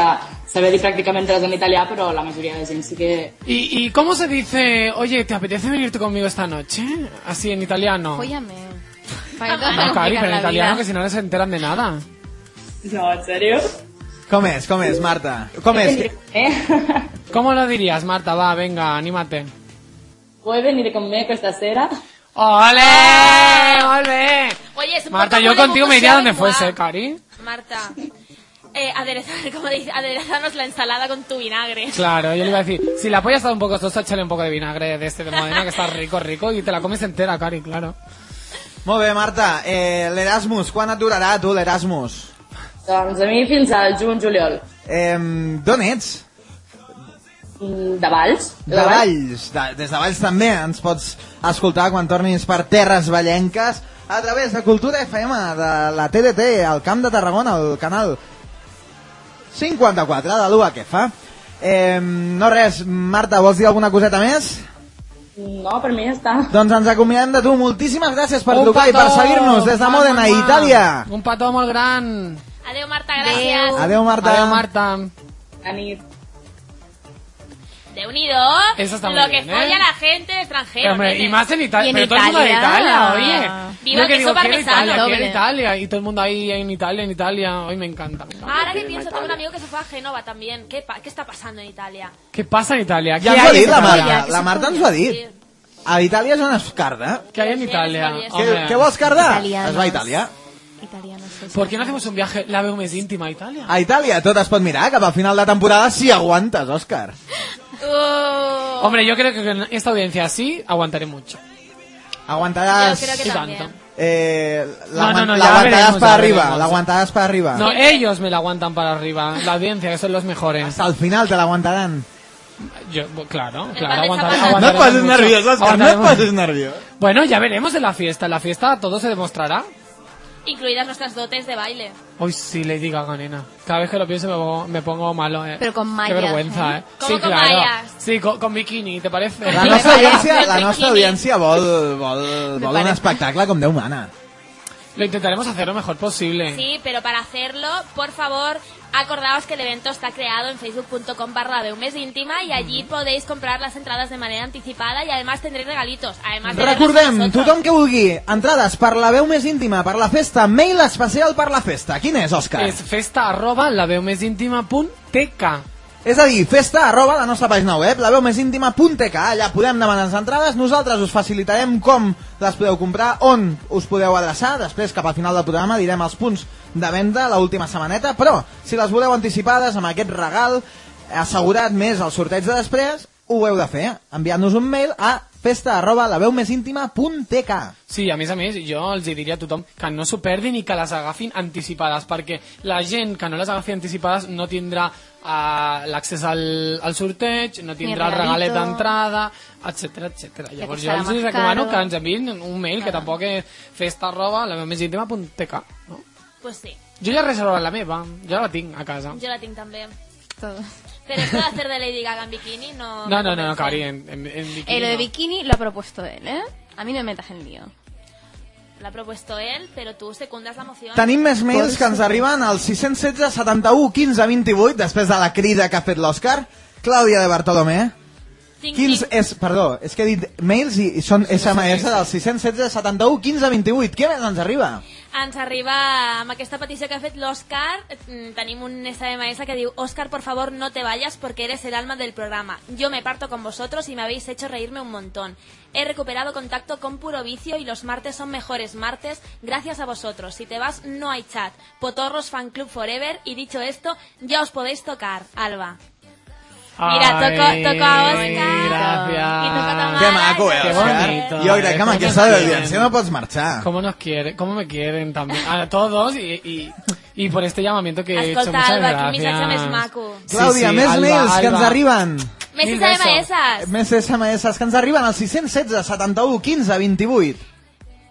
saber dir pràcticament res en italià, però la majoria de gent sí que... ¿Y, ¿Y cómo se dice, oye, ¿te apetece venirte conmigo esta noche? Así en italiano. Fóllame. Para que todos Ah, No, podamos Cari, pero en explicar la italiano que vida. si no, no se enteran de nada. No, en sèrio? Com és, com és, Marta? Com és? Eh? ¿Cómo lo dirías, Marta? Va, venga, anímate. Puede venir conmigo esta cera? ¡Ole! ¡Ole! Oye, es un Marta, poco yo como contigo de me iría Buceo donde de Juan. fuese, Cari. Marta, eh, aderezar, como dice, aderezarnos la ensalada con tu vinagre. Claro, yo le iba a decir, si la polla está un poco sosa, échale un poco de vinagre de este de Modena, que está rico, rico, y te la comes entera, Cari, claro. Molt bé, Marta. Eh, L'Erasmus, quan et durarà, tu, l'Erasmus? Doncs a mi fins al juny-juliol. Eh, D'on ets? Mm, De Valls? De Valls, de, des de Valls també ens pots escoltar quan tornis per Terres Vallenques a través de Cultura FM, de la TDT, al Camp de Tarragona, al canal 54 de l'UA que fa. Eh, no res, Marta, vols dir alguna coseta més? No, per mi ja està. Doncs ens acomiadem de tu. Moltíssimes gràcies per Un trucar i per petó! seguir-nos des de Mua, Modena, mua, mua. Itàlia. Un petó molt gran. Adéu, Marta, gràcies. Adeu, Marta. Adéu, Marta. Bona nit. Déu-n'hi-do. Eso está muy Lo que bien, folla ¿eh? la gente de extranjero. Hombre, nene. y más en Italia. Y en Pero todo el mundo de Italia. Italia, oye. Viva Yo el queso que digo, quiero parmesano, Italia, quiero doble. Italia. Y todo el mundo ahí en Italia, en Italia. Hoy me encanta. me encanta. Ahora que pienso, tengo un amigo que se fue a Génova también. ¿Qué, pa- qué está pasando en Italia? ¿Qué pasa en Italia? ¿Qué Ja ens ho ha hay en dit la Italia? Marta. La Marta ens ho ha Sí. dit. A Itàlia és una escarda. ¿Qué hay en Sí, es Italia? belleza. Què, Hombre. què vols, Carda? Italianos. Es va a Itàlia. Italianos. sí, sí. ¿Por qué no hacemos un viaje? La veo más íntima a Italia. A Itàlia tot es pot mirar cap a final de temporada si aguantes, Òscar. Uh, Hombre, yo creo que con esta audiencia así aguantaré mucho. Aguantaràs... Yo creo Y que tanto. también. Eh, l'aguant- No, no, no, ja l'aguantaràs veremos, per ja arriba, veremos. l'aguantaràs per arriba. No, ellos me la aguantan para arriba. La audiencia, que son los mejores. Hasta el final te l'aguantaran. Yo, bueno, claro, El claro, pan de aguantaré. chapas. aguantaré mucho. Aguantaremos. nerviós. Bueno, ya veremos en la fiesta. En la fiesta todo se demostrará. Incluidas nuestras dotes de baile. Hoy sí le diga ganena. Cada vez que lo pienso me pongo, me pongo malo, eh. Pero con Qué mallas, vergüenza, eh. ¿Cómo sí, con claro. mallas? Sí, con, con bikini, ¿te parece? La Me nostra parece- audiència, la me nostra parece- audiència vol, vol, vol un parece. espectacle com Déu mana. Lo intentaremos hacer lo mejor posible. Sí, pero para hacerlo, por favor, acordaos que el evento está creado en facebook.com barra de un mes íntima y allí Mm. podéis comprar las entradas de manera anticipada y además tendréis regalitos. Además de vernos Recordem, nosotros. tothom que vulgui, entrades per la veu més íntima, per la festa, mail especial per la festa. Quin és, Òscar? Es festa arroba la veo más íntima pun teca. És a dir, festa arroba la nostra pàgina web, la veu més íntima.tk, allà podem demanar les entrades, nosaltres us facilitarem com les podeu comprar, on us podeu adreçar, després cap al final del programa direm els punts de venda l'última setmaneta, però si les voleu anticipades amb aquest regal assegurat més el sorteig de després, ho heu de fer, enviant-nos un mail a festa arroba la veu més íntima.tk. Sí, a més a més, jo els hi diria a tothom que no s'ho perdin i que les agafin anticipades, perquè la gent que no les agafi anticipades no tindrà uh, l'accés al, al sorteig, no tindrà el regalet regalito. d'entrada, etc etc. Llavors jo serà els más hi recomano caro. que ens enviïn un mail, que tampoc és festa arroba la més íntima punt tk, no? Pues sí, Jo ja he reservat la meva, ja la tinc a casa. yo la tengo también. Todo. Pero esto de hacer de Lady Gaga en bikini no... No, no, me no, no convence. Cari, en, en, en bikini Eh, lo de no. bikini lo ha propuesto él, ¿eh? A mí no me metas en lío. La ha propuesto él, pero tú secundas la moción. Tenim més mails que ens arriben al 616 71 15 28 després de la crida que ha fet l'Òscar. Clàudia de Bartolomé. Ting, ting. 15, és, perdó, és que he dit mails i, i són SMS del 616 71 15 28. Què més ens arriba? ens arriba amb aquesta petició que ha fet l'Òscar mm, tenim un SMS que diu Óscar, por favor, no te vayas porque eres el alma del programa yo me parto con vosotros y me habéis hecho reírme un montón he recuperado contacto con Puro Vicio y los martes son mejores martes gracias a vosotros si te vas no hay chat Potorros Fan Club Forever y dicho esto ya os podéis tocar Alba Mira, toco, Ay, toco a Óscar Gracias. y toco a Tamara que maco, eh, que Òscar? bonito. Jo crec que amb Que aquesta nos audiència quieren. no pots marxar. ¿Cómo nos quieren? ¿Cómo me quieren también? A todos y, y, y por este llamamiento que he hecho. Escolta, Muchas Alba, quin gracias. missatge més maco. Sí, Clàudia, sí, més Alba, mails que Alba. ens arriben. Més Mil besos. SMS Més SMS que ens arriben al 616 71 15 28.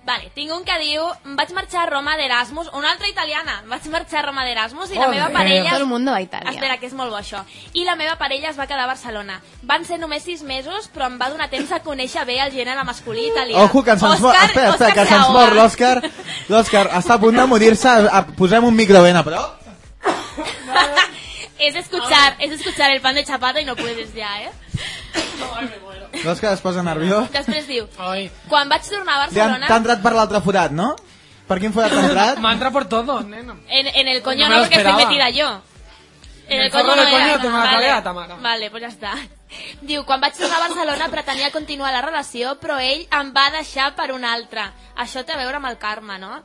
Vale, tinc un que diu vaig marxar a Roma d'Erasmus, una altra italiana, vaig marxar a Roma d'Erasmus i la Ole. meva parella... Todo el mundo va a Italia. Espera, que és molt bo això. I la meva parella es va quedar a Barcelona. Van ser només sis mesos, però em va donar temps a conèixer bé el gènere masculí italià. Ojo, que se'ns mor... Òscar- Espera, espera, Òscar que se'ns s'ahoga. eh? mor l'Òscar. L'Òscar està a punt de morir-se. Ah, Posem un micro ben a prop. és escuchar, és escuchar el pan de chapata i no puedes ja, eh? L'Òscar es posa nerviós. Després diu, Ay. quan vaig tornar a T'han Barcelona... t'ha entrat per l'altre forat, no? Per quin forat t'ha entrat? Me entra por todo, nena. En, en el coño No me no, lo porque estoy esperaba. metida yo. En En el el coño forro no del era. coño te me la cagué, Tamara. Vale, pues ja està. Diu, quan vaig tornar a Barcelona pretenia continuar la relació, però ell em va deixar per una altra. Això té a veure amb el karma, no?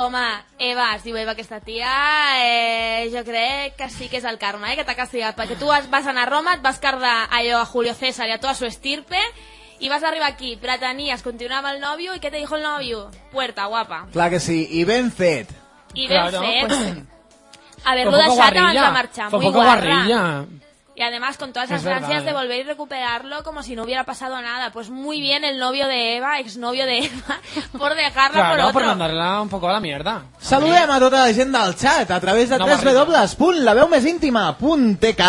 Home, Eva, es diu Eva aquesta tia, eh, jo crec que sí que és el karma, eh, que t'ha castigat, perquè tu has- vas anar a Roma, et vas cardar allò a Julio César i a tota su estirpe, i vas arribar aquí, pretenies continuar amb el nòvio, i què te dijo el nòvio? Puerta, guapa. Clar que sí, i ben fet. I eh? ben Claro, fet. pues, Haver-lo Fue un poco deixat abans de guarrilla. marxar. Fue un Muy poco guarra. guarrilla. Y además con todas las Es verdad, ansias de eh. volver y recuperarlo como si no hubiera pasado nada. Pues muy bien el novio de Eva, exnovio de Eva, por dejarla Claro, por por otro. mandarla un poco a la mierda. Saludem a tota la gent del xat a través de No m'arriba. www.laveumésíntima.tk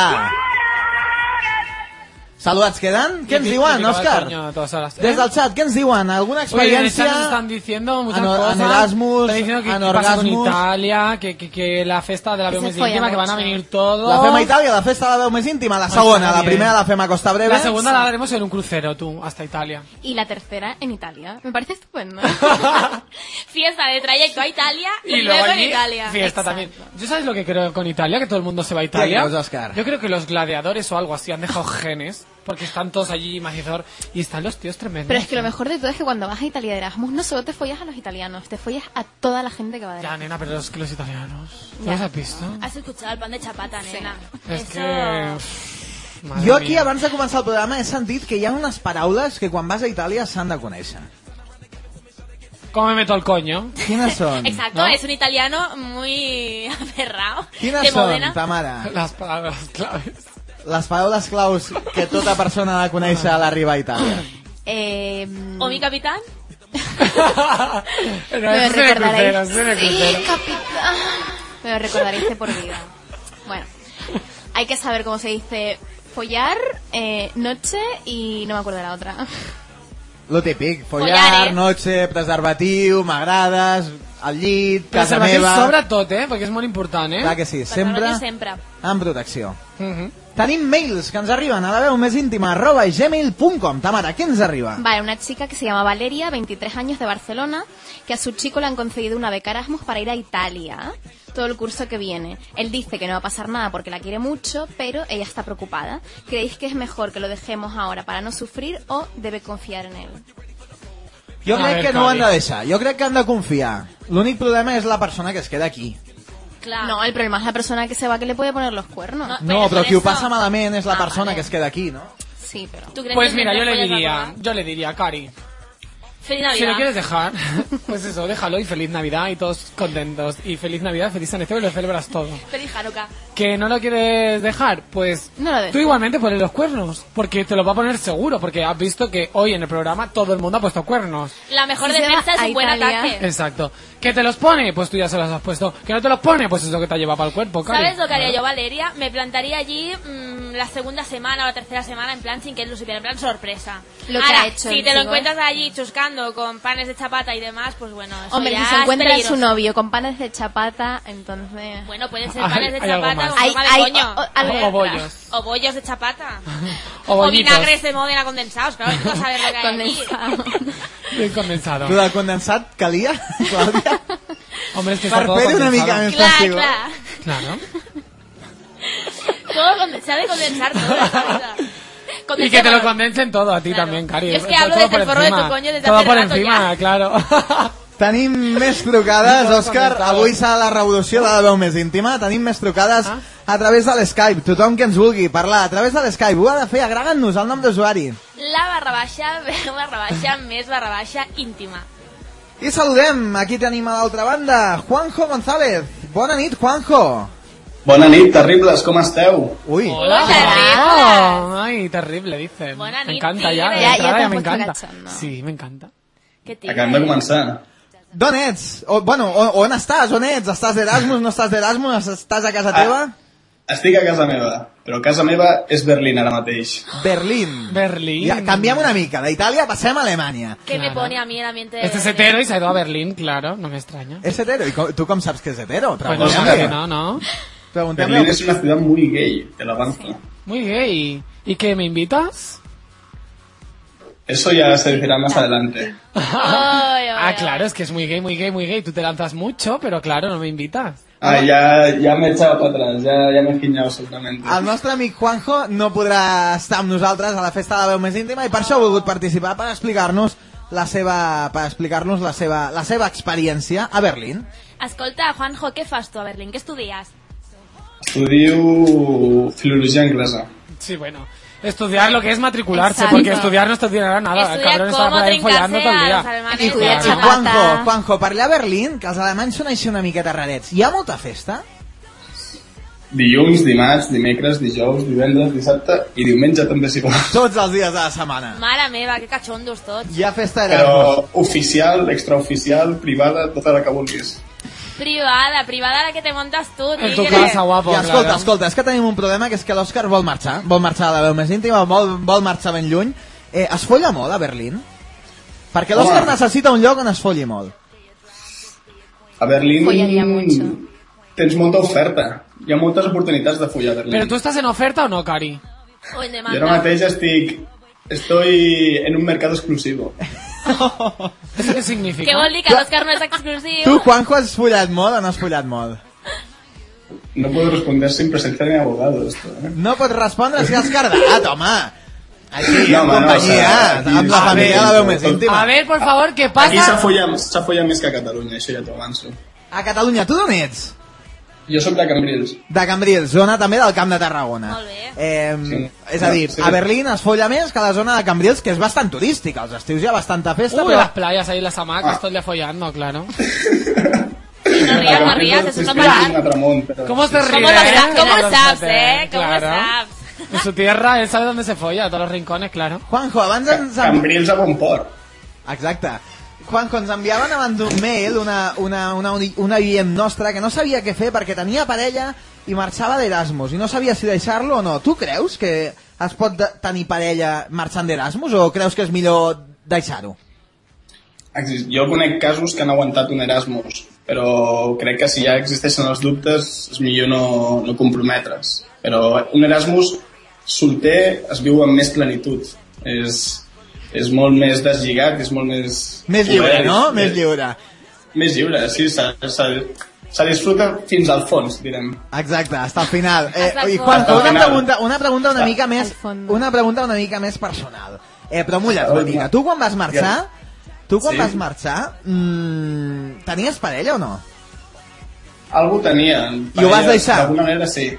Saludats quedan? Què ens Típico- diuen, típico del Òscar? coño de todas horas. ¿Eh? Des del xat, què ens diuen? Alguna Oye, en el chat experiència? nos están diciendo muchas en- en cosas. Erasmus, Están diciendo que, en qué pasa con Orgasmus. Italia, que, que, que la fiesta de la Que se BMS folla encima, que van a mucho. venir todos. La fem a Itàlia, la festa de la veu més íntima, la segona, Està la bien. primera la fem a Costa Breve. La segunda la haremos en un crucero, tú, hasta Italia. Y la tercera en Italia. Me parece estupendo. Fiesta de trayecto a Italia y, Y luego luego en allí, Italia. fiesta Exacto. también. ¿Yo sabes lo que creo con Italia? Que todo el mundo se va a Italia. crees, Óscar? Yo creo que los gladiadores o algo así han dejado genes, porque están todos allí macizor y están los tíos tremendos. Pero es que lo mejor de todo es que cuando vas a Italia de Erasmus no solo te follas a los italianos, te follas a toda la gente que va de Ya, Erasmus. nena, pero es que los italianos... ¿No los has visto? Ah, Has escuchado el pan de chapata, nena. Es Eso- que... uf, madre Jo aquí, mía. abans de començar el programa, he sentit que hi ha unes paraules que quan vas a Itàlia s'han de conèixer. ¿Cómo me meto el coño? Quines són? Exacto, ¿No? es un italiano muy aferrado. Quines de són, Modena. ta mare? Las palabras claves. Les paraules claus que tota persona ha de conèixer a l'arribar a Itàlia. Eh, O mi capitán. Pero me eso lo es en el crucero, recordaréis. eso es en el Sí, crucero. capitán. Me lo recordaréis de por vida. Bueno, hay que saber cómo se dice follar, eh, noche y no me acuerdo de la otra. Lo típic, Follar, follar, eh? noche, preservatiu, m'agrades, al llit, casa Preservatiu meva... sobre tot, eh? Perquè és molt important, eh? Clar que sí, sempre Perdona, sempre. amb protecció. Mhm. Tenim mails que ens arriben a la veu més íntima arroba gmail.com. Ta mare, què ens arriba? Vale, una chica que se llama Valeria, 23 años de Barcelona, que a su chico le han concedido una beca Erasmus para ir a Italia todo el curso que viene. Él dice que no va a pasar nada porque la quiere mucho, pero ella está preocupada. ¿Creéis que es mejor que lo dejemos ahora para no sufrir o debe confiar en él? Jo A crec ver, que no ho han de Cari. deixar, jo crec que han de confiar. L'únic problema és la persona que es queda aquí. Claro. No, el problema es la persona que se va que le puede poner los cuernos. No. No, Però però per qui ho això- passa malament és la Ah, persona vale. que es queda aquí, no? Sí, pero... ¿Tú crees Pues que mira, yo siempre le follas a diría, Córdoba? yo le diría, Cari, Feliz si lo Navidad. quieres dejar, pues eso, déjalo y feliz Navidad y todos contentos. Y feliz Navidad, feliz San Esteban y lo celebras todo. Feliz Hanukkah. ¿Que no lo quieres dejar? Pues No lo dejo. tú igualmente pones los cuernos, porque te lo va a poner seguro, porque has visto que hoy en el programa todo el mundo ha puesto cuernos. La mejor Si se defensa va es a un buen Italia- ataque. Exacto. ¿Que te los pone? Pues tú ya se los has puesto. ¿Que no te los pone? Pues eso que te ha llevado para el cuerpo, Cari. ¿Sabes lo que haría yo, Valeria? Me plantaría allí mm, la segunda semana o la tercera semana, en plan, sin que él lo supiera, en plan, sorpresa. Lo que Ahora, ha hecho si te lo el chico, ¿eh? encuentras allí chuscando con panes de chapata y demás, pues bueno, eso Hombre, ya si se es encuentra su peligroso. novio con panes de chapata, entonces... Bueno, pueden ser Hay- panes de hay algo chapata más. con Hay- forma de hay- coño. o- o- algo O- o bollos. O bollos de chapata. O o bollitos. vinagres de Módena condensados, claro, tú no sabes lo que hay aquí. Condensado. Bien condensado. Tu del condensat calia, Clàudia? Hombre, es que Per está todo fer una condensado. mica més Claro, festiu. claro. Claro. Todo conde- sabe condensar todo. esa cosa. Y que te lo Condensar- condensen todo a ti Claro. también, Cari. Yo es que Todo- hablo todo desde por el forro de tu encima. coño desde Todo hace por rato encima, ya. claro. Tenim més trucades, Molts Òscar. comentaris. Avui serà la revolució de la veu més íntima. Tenim més trucades Ah. a través de l'Skype. Tothom que ens vulgui parlar a través de l'Skype ho ha de fer. Agregant-nos el nom d'usuari. La barra baixa, veu barra baixa, més barra baixa íntima. I saludem. Aquí tenim a l'altra banda Juanjo González. Bona nit, Juanjo. Bona nit, terribles, com esteu? Ui. Hola. Hola. Oh, Ay, terrible, dice. Buena Me nit, encanta ya. tigre. Ya- de ya entrada ya te has me puesto encanta. cachondo. Sí, me encanta. Qué tío. Acabem de començar. D'on ets? O, bueno, on, on estàs? On ets? Estàs d'Erasmus? No estàs d'Erasmus? Estàs a Ah. casa teva? Estic a casa meva, però casa meva és Berlín ara mateix. Berlín. Berlín. Ja, canviem una mica. D'Itàlia passem a Alemanya. Que me Claro. pone a mí en el ambiente de... Este es hetero y se ha ido a Berlín, claro, no me extraña. És hetero? I com, tu com saps que és hetero? Bueno, Pues no, mira. que Preguntem-li. no, no. Berlín Preguntem és una ciutat muy gay, te la banco. Muy gay. ¿Y qué, me invitas? Eso ya se dirá más adelante. Ay, ay, Ah, ay. claro, es que es muy gay, muy gay, muy gay. Tú te lanzas mucho, pero claro, no me invitas. Ah, ya, ya me he echado para atrás, ya, ya me he guiñado seguramente. el nostre amic Juanjo no podrà estar amb nosaltres a la festa de la veu més íntima i per això ha volgut participar per explicar-nos la seva, per explicar-nos la seva, la seva experiència a Berlín. Escolta, Juanjo, què fas tu a Berlín? Què estudies? Estudio filología inglesa. Sí, bueno. Estudiar lo que es matricularse, Exacto. porque estudiar no estudiará nada. El Estudia cabrón está cómo por ahí follando trincarse todo el a los día. I, alemanes. de i Estudiar la- xapata. Juanjo, Juanjo, per allà a Berlín, que els alemanys són així una miqueta rarets, hi ha molta festa? dilluns, dimarts, dimecres, dijous, divendres, dissabte i diumenge també s'hi va. Tots els dies de la setmana. Mare meva, que catxondos tots. Hi ha festa Erasmus. Però oficial, extraoficial, privada, tota la que vulguis. Privada, privada la que te montes tu, En tu tigre. casa, guapo. I escolta, claro. escolta, és que tenim un problema que és que l'Òscar vol marxar, vol marxar a la veu més íntima, vol, vol marxar ben lluny. Eh, es folla molt a Berlín? Perquè l'Òscar Home. necessita un lloc on es folli molt. A Berlín Follaria mucho. tens molta oferta. Hi ha moltes oportunitats de follar a Berlín. Però tu estàs en oferta o no, Cari? Uy, de I ara mateix estic... Estoy en un mercado exclusivo. Això què significa? Què vol dir que l'Òscar no és exclusiu? Tu, Juanjo, has follat molt o no has follat molt? No puedo responder sin presencia de mi abogado. Esto, eh? No pots respondre si has cardat, home. Així, No, no, en home, no, companyia, o sigui, amb la aquí- família, la veu més íntima. A ver, por favor, què Aquí s'ha passa? follat, s'ha follat més que a Catalunya, això ja t'ho avanço. A Catalunya, tu d'on ets? Jo sóc de Cambrils. De Cambrils, zona també del Camp de Tarragona. Molt bé. Eh, sí. Sí. És a dir, Sí. a Berlín es folla més que a la zona de Cambrils, que és bastant turística. Els estius hi ha bastanta festa, Uy, però... las playas ahí, las Ah. hamacas, todo el día follando, claro. no rías, no rías, es eso está un mal. atramón, pero- ¿Cómo te ríes? ¿Cómo lo sabes? eh? ¿Cómo Los sabes, hoteles, eh? ¿Cómo claro. sabes? En su tierra, él sabe dónde se folla, a todos los rincones, claro. Juanjo, abans ens... en- Cambrils a bon port. Exacte. Juanjo, ens enviaven abans d'un mail una, una, una, uni- una oient nostra que no sabia què fer perquè tenia parella i marxava d'Erasmus i no sabia si deixar-lo o no. Tu creus que es pot de- tenir parella marxant d'Erasmus o creus que és millor deixar-ho? Exist- Jo conec casos que han aguantat un Erasmus, però crec que si ja existeixen els dubtes és millor no, no comprometre's. Però un Erasmus solter es viu amb més plenitud. És, és molt més deslligat, és molt més... Més lliure, obert, no? Més més- lliure. Més lliure, sí, se, se, se disfruta fins al fons, direm. Exacte, hasta el final. Eh, Hasta el I Juanjo, fons. una Hasta el final. pregunta, una pregunta una mica més, Al fondo. una pregunta una mica més personal. Eh, però mulla't, Hasta el Martina, fons. tu quan vas marxar, tu quan Sí. vas marxar, mm, tenies parella o no? Algú tenia. I ho vas deixar? D'alguna manera sí.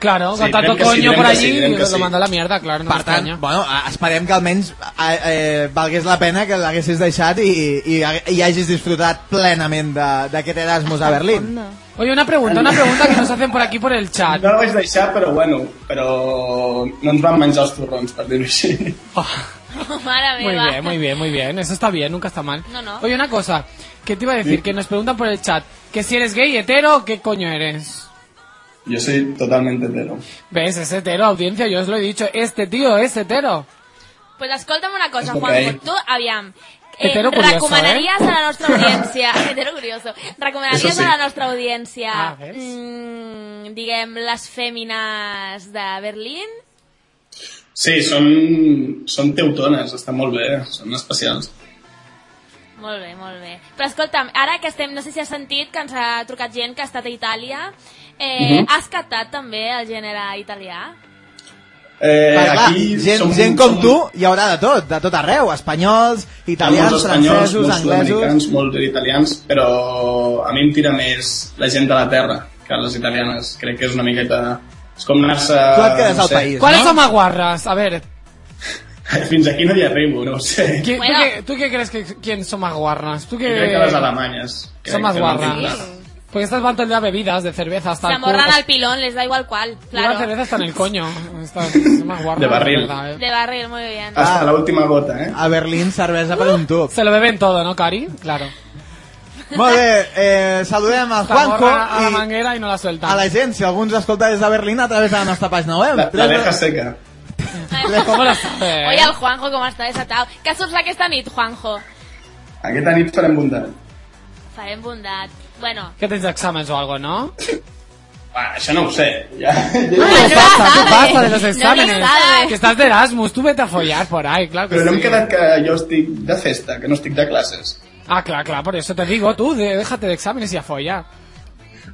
Claro, Sí, con tanto direm que sí, coño direm por que allí, sí, direm que lo sí. manda a la mierda, claro, no per tant, m'estranya. bueno, a- esperem que almenys eh, eh, valgués la pena que l'haguessis deixat i, i, i hagis disfrutat plenament de- d'aquest Erasmus a Berlín. Eh, No. Oye, una pregunta, una pregunta que nos hacen por aquí por el chat. No la vaig deixar, però bueno, però no ens van menjar els torrons, per dir-ho així. Mare Oh, Muy meva. bien, muy bien, muy bien. Eso está bien, nunca está mal. No, no. Oye, una cosa, que te iba a decir, que nos preguntan por el chat, que si eres gay, hetero, o ¿qué coño eres? Jo soy totalment hetero. ¿Ves? Es hetero, audiencia, yo os lo he dicho, este tío es hetero. Pues escolta'm una cosa, Ok. Juanjo, tu, aviam, eh, Hetero curioso, recomanaries a la nostra audiència, hetero curioso, recomanaries Eso sí. a la nostra audiència, Ah, ves? mm, diguem, les fèmines de Berlín? Sí, són, són teutones, està molt bé, són especials. Molt bé, molt bé. Però escolta'm, ara que estem, no sé si has sentit que ens ha trucat gent que ha estat a Itàlia, eh, Mhm. has catat també el gènere italià? Eh, Però, clar, aquí gent, som- gent com som- tu hi haurà de tot, de tot arreu, espanyols, hi ha molts italians, espanyols, francesos, molts anglesos... sud-americans, molts italians, però a mi em tira més la gent de la terra que les italianes. Crec que és una miqueta... És com anar-se... Tu et quedes al país, ¿Cuáles no? son maguarras? A ver, Fins aquí no hi arribo, no ho sé. ¿qué- tú, Bueno. qué, tú qué crees que quién son más guarras? ¿Tú Jo qué crec que les alemanyes. Crec son más que no guarras? tinc clar. Porque estas van todo el día bebidas, de cerveza hasta Se el culo. amorran al pilón, les da igual cuál, Llevan claro. cerveza hasta en el coño. Estas son más guarras, De barril. verdad, eh. De barril, muy bien. Hasta l'última gota, eh? A Berlín, cervesa per un tub. Se lo beben todo, ¿no, Cari? Claro. Molt bé, eh, saludem el Esta Juanco morra a la i manguera y no la sueltan. a la gent, si algú ens escolta des de Berlín a través de la nostra pàgina web. La, la deja seca. ¿Cómo lo sabe? Oye, el Juanjo, com està desatat. Què surts aquesta nit, Juanjo? Aquesta nit farem bondat. Farem bondat. Bueno, ¿Qué tens exámenes o algo, no? Ah, això no ho sé. Ja, ¿Qué no la pasa? sabe. ¿Qué pasa de los No la exámenes? sabe. que estás de Erasmus, tú vete a follar por ahí, claro que Però no hem sí. quedat que jo estic de festa, que no estic de classes. Ah, claro, claro, por eso te digo, tú, de- déjate de exámenes y a follar.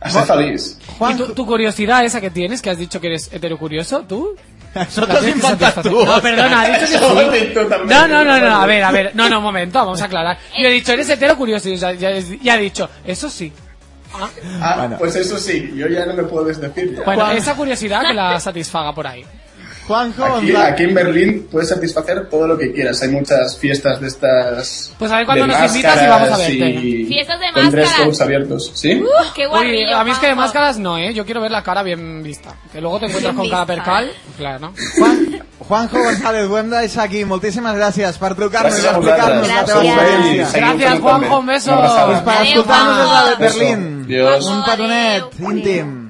A ser feliç. ¿Y tu, tu curiosidad esa que tienes, que has dicho que eres heterocurioso, tú? Això La t'has tienes que inventat satisfacer. tu. No, perdona, ha dicho que Eso lo has sí. dicho tú también. No, no, no, no, a ver, a ver, no, no, un momento, vamos a aclarar. Yo he dicho, eres heterocurioso, y ya, ya, ya he dicho, eso sí. Ah, Ah, Bueno. pues eso sí, yo ya no me puedo desdecir. Ya. Bueno, esa curiosidad que la satisfaga por ahí. Juanjo, Aquí, Gonzalo. aquí en Berlín puedes satisfacer todo lo que quieras. Hay muchas fiestas de estas. Pues a ver cuándo de nos invitas y vamos a máscaras verte. y Fiestas de Con dress máscaras. codes abiertos. ¿Sí? Qué Uy, guarrillo, a mí es que de Juanjo. máscaras no, ¿eh? Yo quiero ver la cara bien vista. Que luego te encuentras Bien con cada vista. percal. ¿eh? Claro. Juan, Juanjo González Buenda és aquí. Moltíssimes gràcies per trucar-nos i Gràcies a per explicar-nos la vosaltres. teva Gràcies. experiència. Seguiu Gràcies, fent-ho Juanjo, també. un beso. Una abraçada. Doncs per Adéu, escoltar-nos des de Juanjo. Berlín. Adiós. Un petonet Adéu. íntim.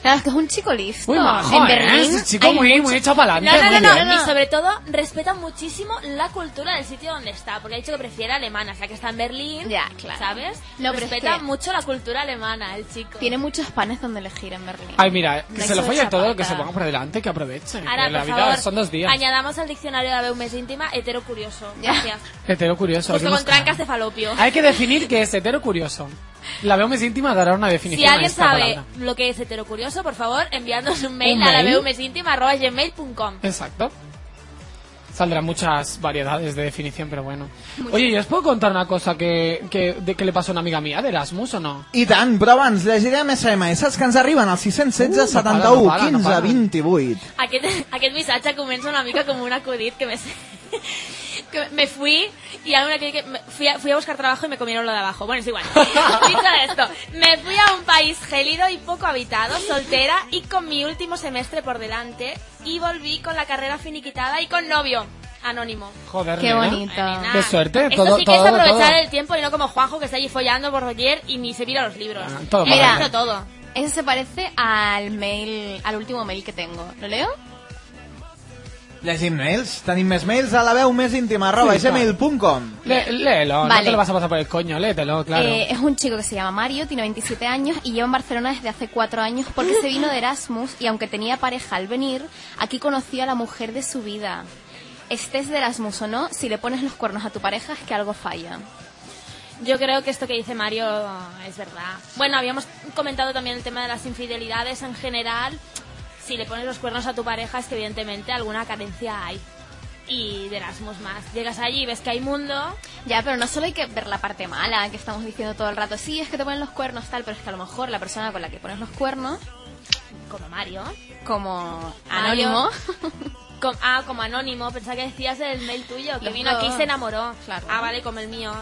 Claro, es que es un chico listo. Muy majo, en ¿eh? Berlín Ese chico hay muy, muy hecho para No, no, adelante. no, no, bien. Y sobre todo, respeta muchísimo la cultura del sitio donde está. Porque ha dicho que prefiere alemana. O sea, que está en Berlín. Ya, claro. ¿Sabes? No, pero es respeta que- mucho la cultura alemana, el chico. Tiene muchos panes donde elegir en Berlín. Ay, mira, eh, que Me se lo hizo folle esa todo, falta. que se ponga por delante, que aproveche. Ahora, que la por vida favor, son dos días. añadamos al diccionario de la BUMES íntima hetero curioso. Ya. Gracias. Hetero curioso. Justo algunos- con trancas de falopio. Hay que definir qué es hetero curioso. La veo más íntima dará una definición. Si a alguien esta sabe palabra. lo que es hetero curioso, por favor, enviándonos un mail, ¿Un a la mail? beumesintima.gmail.com. Exacto. Saldrán muchas variedades de definición, pero bueno. Oye, ¿y os puedo contar una cosa que, que, de- que le pasó a una amiga mía de Erasmus o no? I tant, però abans llegirem SMS que ens arriben al 616 Uh, no para, 71 no para, no 15 para. 28. Aquest, aquest missatge comença una mica com un acudit que me... sé- Que me fui y a una que que me- fui a, fui a buscar trabajo y me comieron lo de abajo. Bueno, es igual. Dicho esto, me fui a un país gélido y poco habitado, soltera y con mi último semestre por delante y volví con la carrera finiquitada y con novio. Anónimo. Joder, Qué nena. bonito. Nena, Ah, Qué suerte, Esto todo- sí que todo- es aprovechar todo. el tiempo y no como Juanjo que está allí follando por doquier y ni se mira los libros. Ah, todo Yo para quiero adelante. todo. Ese se parece al mail, al último mail que tengo. ¿Lo leo? Llegim mails? Tenim més mails a la veu més íntima arroba Sí, clar. gmail.com. Lé- léelo, no Vale. te lo vas a pasar por el coño, léetelo, claro. Eh, es un chico que se llama Mario, tiene 27 años y lleva en Barcelona desde hace 4 años porque se vino de Erasmus y aunque tenía pareja al venir, aquí conoció a la mujer de su vida. Estés de Erasmus o no, si le pones los cuernos a tu pareja es que algo falla. Yo creo que esto que dice Mario es verdad. Bueno, habíamos comentado también el tema de las infidelidades en general. Si le pones los cuernos a tu pareja es que evidentemente alguna carencia hay. Y de Erasmus más. Llegas allí y ves que hay mundo. Ya, pero no solo hay que ver la parte mala que estamos diciendo todo el rato, sí, es que te ponen los cuernos tal, pero es que a lo mejor la persona con la que pones los cuernos, Como Mario. como Mario. anónimo, Com- ah, como anónimo. Pensaba que decías del mail tuyo. Que Los vino aquí y dos. se enamoró. Claro. Ah, vale, como el mío.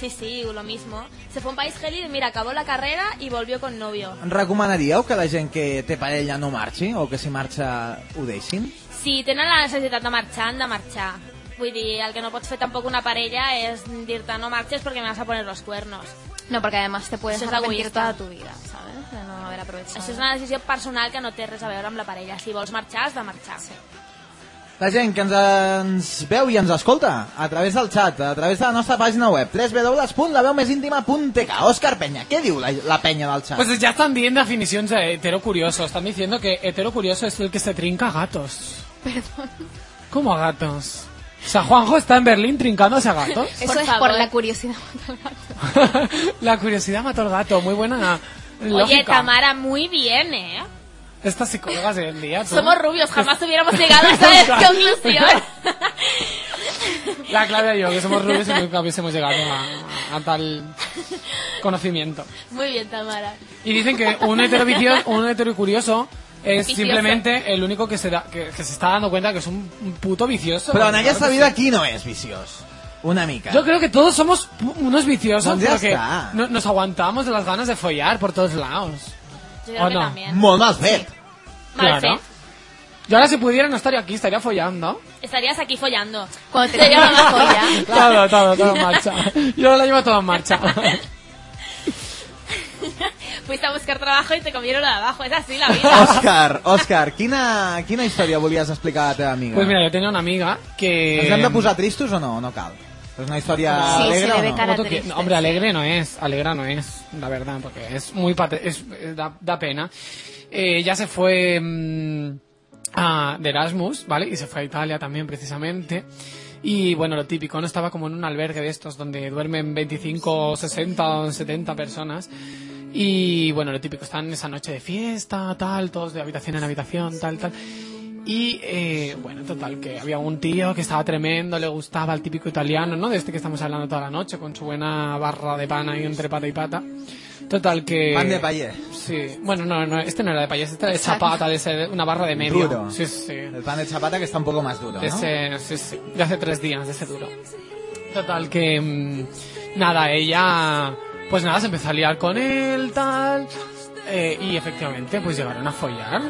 Sí, sí, lo mismo. Se fue a un país gélido y mira, acabó la carrera y volvió con novio. Recomanaríeu que la gent que té parella no marxi o que si marxa ho deixin? si tenen la necessitat de marxar, han de marxar. Vull dir, el que no pots fer tampoc una parella és dir-te no marxes perquè me vas a poner los cuernos. no, porque además te puedes Eso es arrepentir egoísta. toda tu vida, ¿sabes? De no haber aprovechado. Això és una decisió personal que no té res a veure amb la parella. Si vols marxar, has de marxar. Sí. La gent que ens, ens veu i ens escolta a través del xat, a través de la nostra pàgina web www.laveumésíntima.tk Òscar Penya, què diu la, la penya del xat? Pues ya están viendo definiciones de hetero curioso. Están diciendo que hetero curioso es el que se trinca a gatos. Perdón. ¿Cómo a gatos? O sea, Juanjo está en Berlín trincándose a gatos. Eso Por es favor. por la curiosidad. La curiosidad mató al gato. Muy buena Oye, lógica. Tamara, muy bien, ¿eh? Estas psicólogas de hoy en día. tú. Somos rubios, jamás hubiéramos llegado a esa conclusión. La Claudia y yo, que somos rubios y nunca hubiésemos llegado a, a tal conocimiento. Muy bien, Tamara. Y dicen que un heterovicio- un heterocurioso es Vicioso. simplemente el único que se, da, que, que se está dando cuenta que es un, un puto vicioso. Però en Claro aquesta que vida sí. qui no és viciós? Una mica. Yo creo que todos somos pu- unos viciosos Pues ya porque está. no- nos aguantamos de las ganas de follar por todos lados. Yo creo Oh, que no. Mm, también. Molt mal fet. Mal Claro. fet. Yo ahora si pudiera no estaría aquí, estaría follando. Estarías aquí follando. Cuando te Sería la lo más joya. Todo, todo, todo en marcha. Yo lo llevo todo en marcha. Fuiste a buscar trabajo y te comieron lo de abajo. Es así la vida. Òscar, Òscar, quina, quina història volies explicar a la teva amiga? Pues mira, eh, yo tenía una amiga que... Ens hem de posar tristos o no? No cal. És una història Sí, sí, alegre le o ve no? cara- Como tú que- triste, no, hombre, sí. alegre no es, alegra no es, la verdad, porque es muy pate- es, eh, da, da pena. Eh, ya se fue mm, a, de Erasmus, ¿vale? Y se fue a Italia también, precisamente. Y bueno, lo típico, no estaba como en un albergue de estos donde duermen 25, 60, 70 personas. Y bueno, lo típico, están esa noche de fiesta, tal, todos de habitación en habitación, tal, tal. Y eh, bueno, total, que había un tío que estaba tremendo, le gustaba el típico italiano, ¿no? De este que estamos hablando toda la noche, con su buena barra de pana ahí entre pata y pata. Total, que... Pan de payés. Sí. Bueno, no, no, este no era de payés, este era de Exacto. zapata, de ese- una barra de medio. Duro. Sí, sí. El pan de chapata que está un poco más duro, ¿no? De ese- sí, sí, de hace tres días, de ese duro. Total, que. mm, Nada, ella. Pues nada, se empezó a liar con él, tal. eh, y efectivamente, pues llegaron a follar.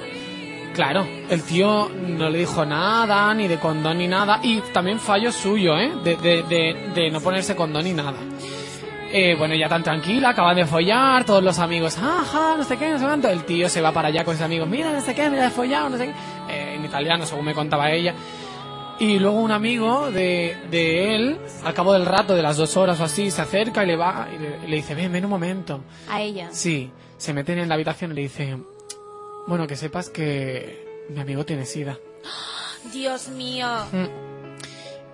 Claro, el tío no le dijo nada, ni de condón ni nada. Y también fallo suyo, ¿eh? De, de, de, de no ponerse condón ni nada. Eh, bueno, ya tan tranquila, acaban de follar, todos los amigos, ajá, no sé qué, no sé cuánto. El tío se va para allá con sus amigos, mira, no sé qué, mira, he follado, no sé qué. Eh, en italiano, según me contaba ella. Y luego un amigo de, de él, al cabo del rato, de las dos horas o así, se acerca y le va y le, le dice, ven, ven un momento. A ella. Sí, se meten en la habitación y le dice, bueno, que sepas que mi amigo tiene sida. Dios mío.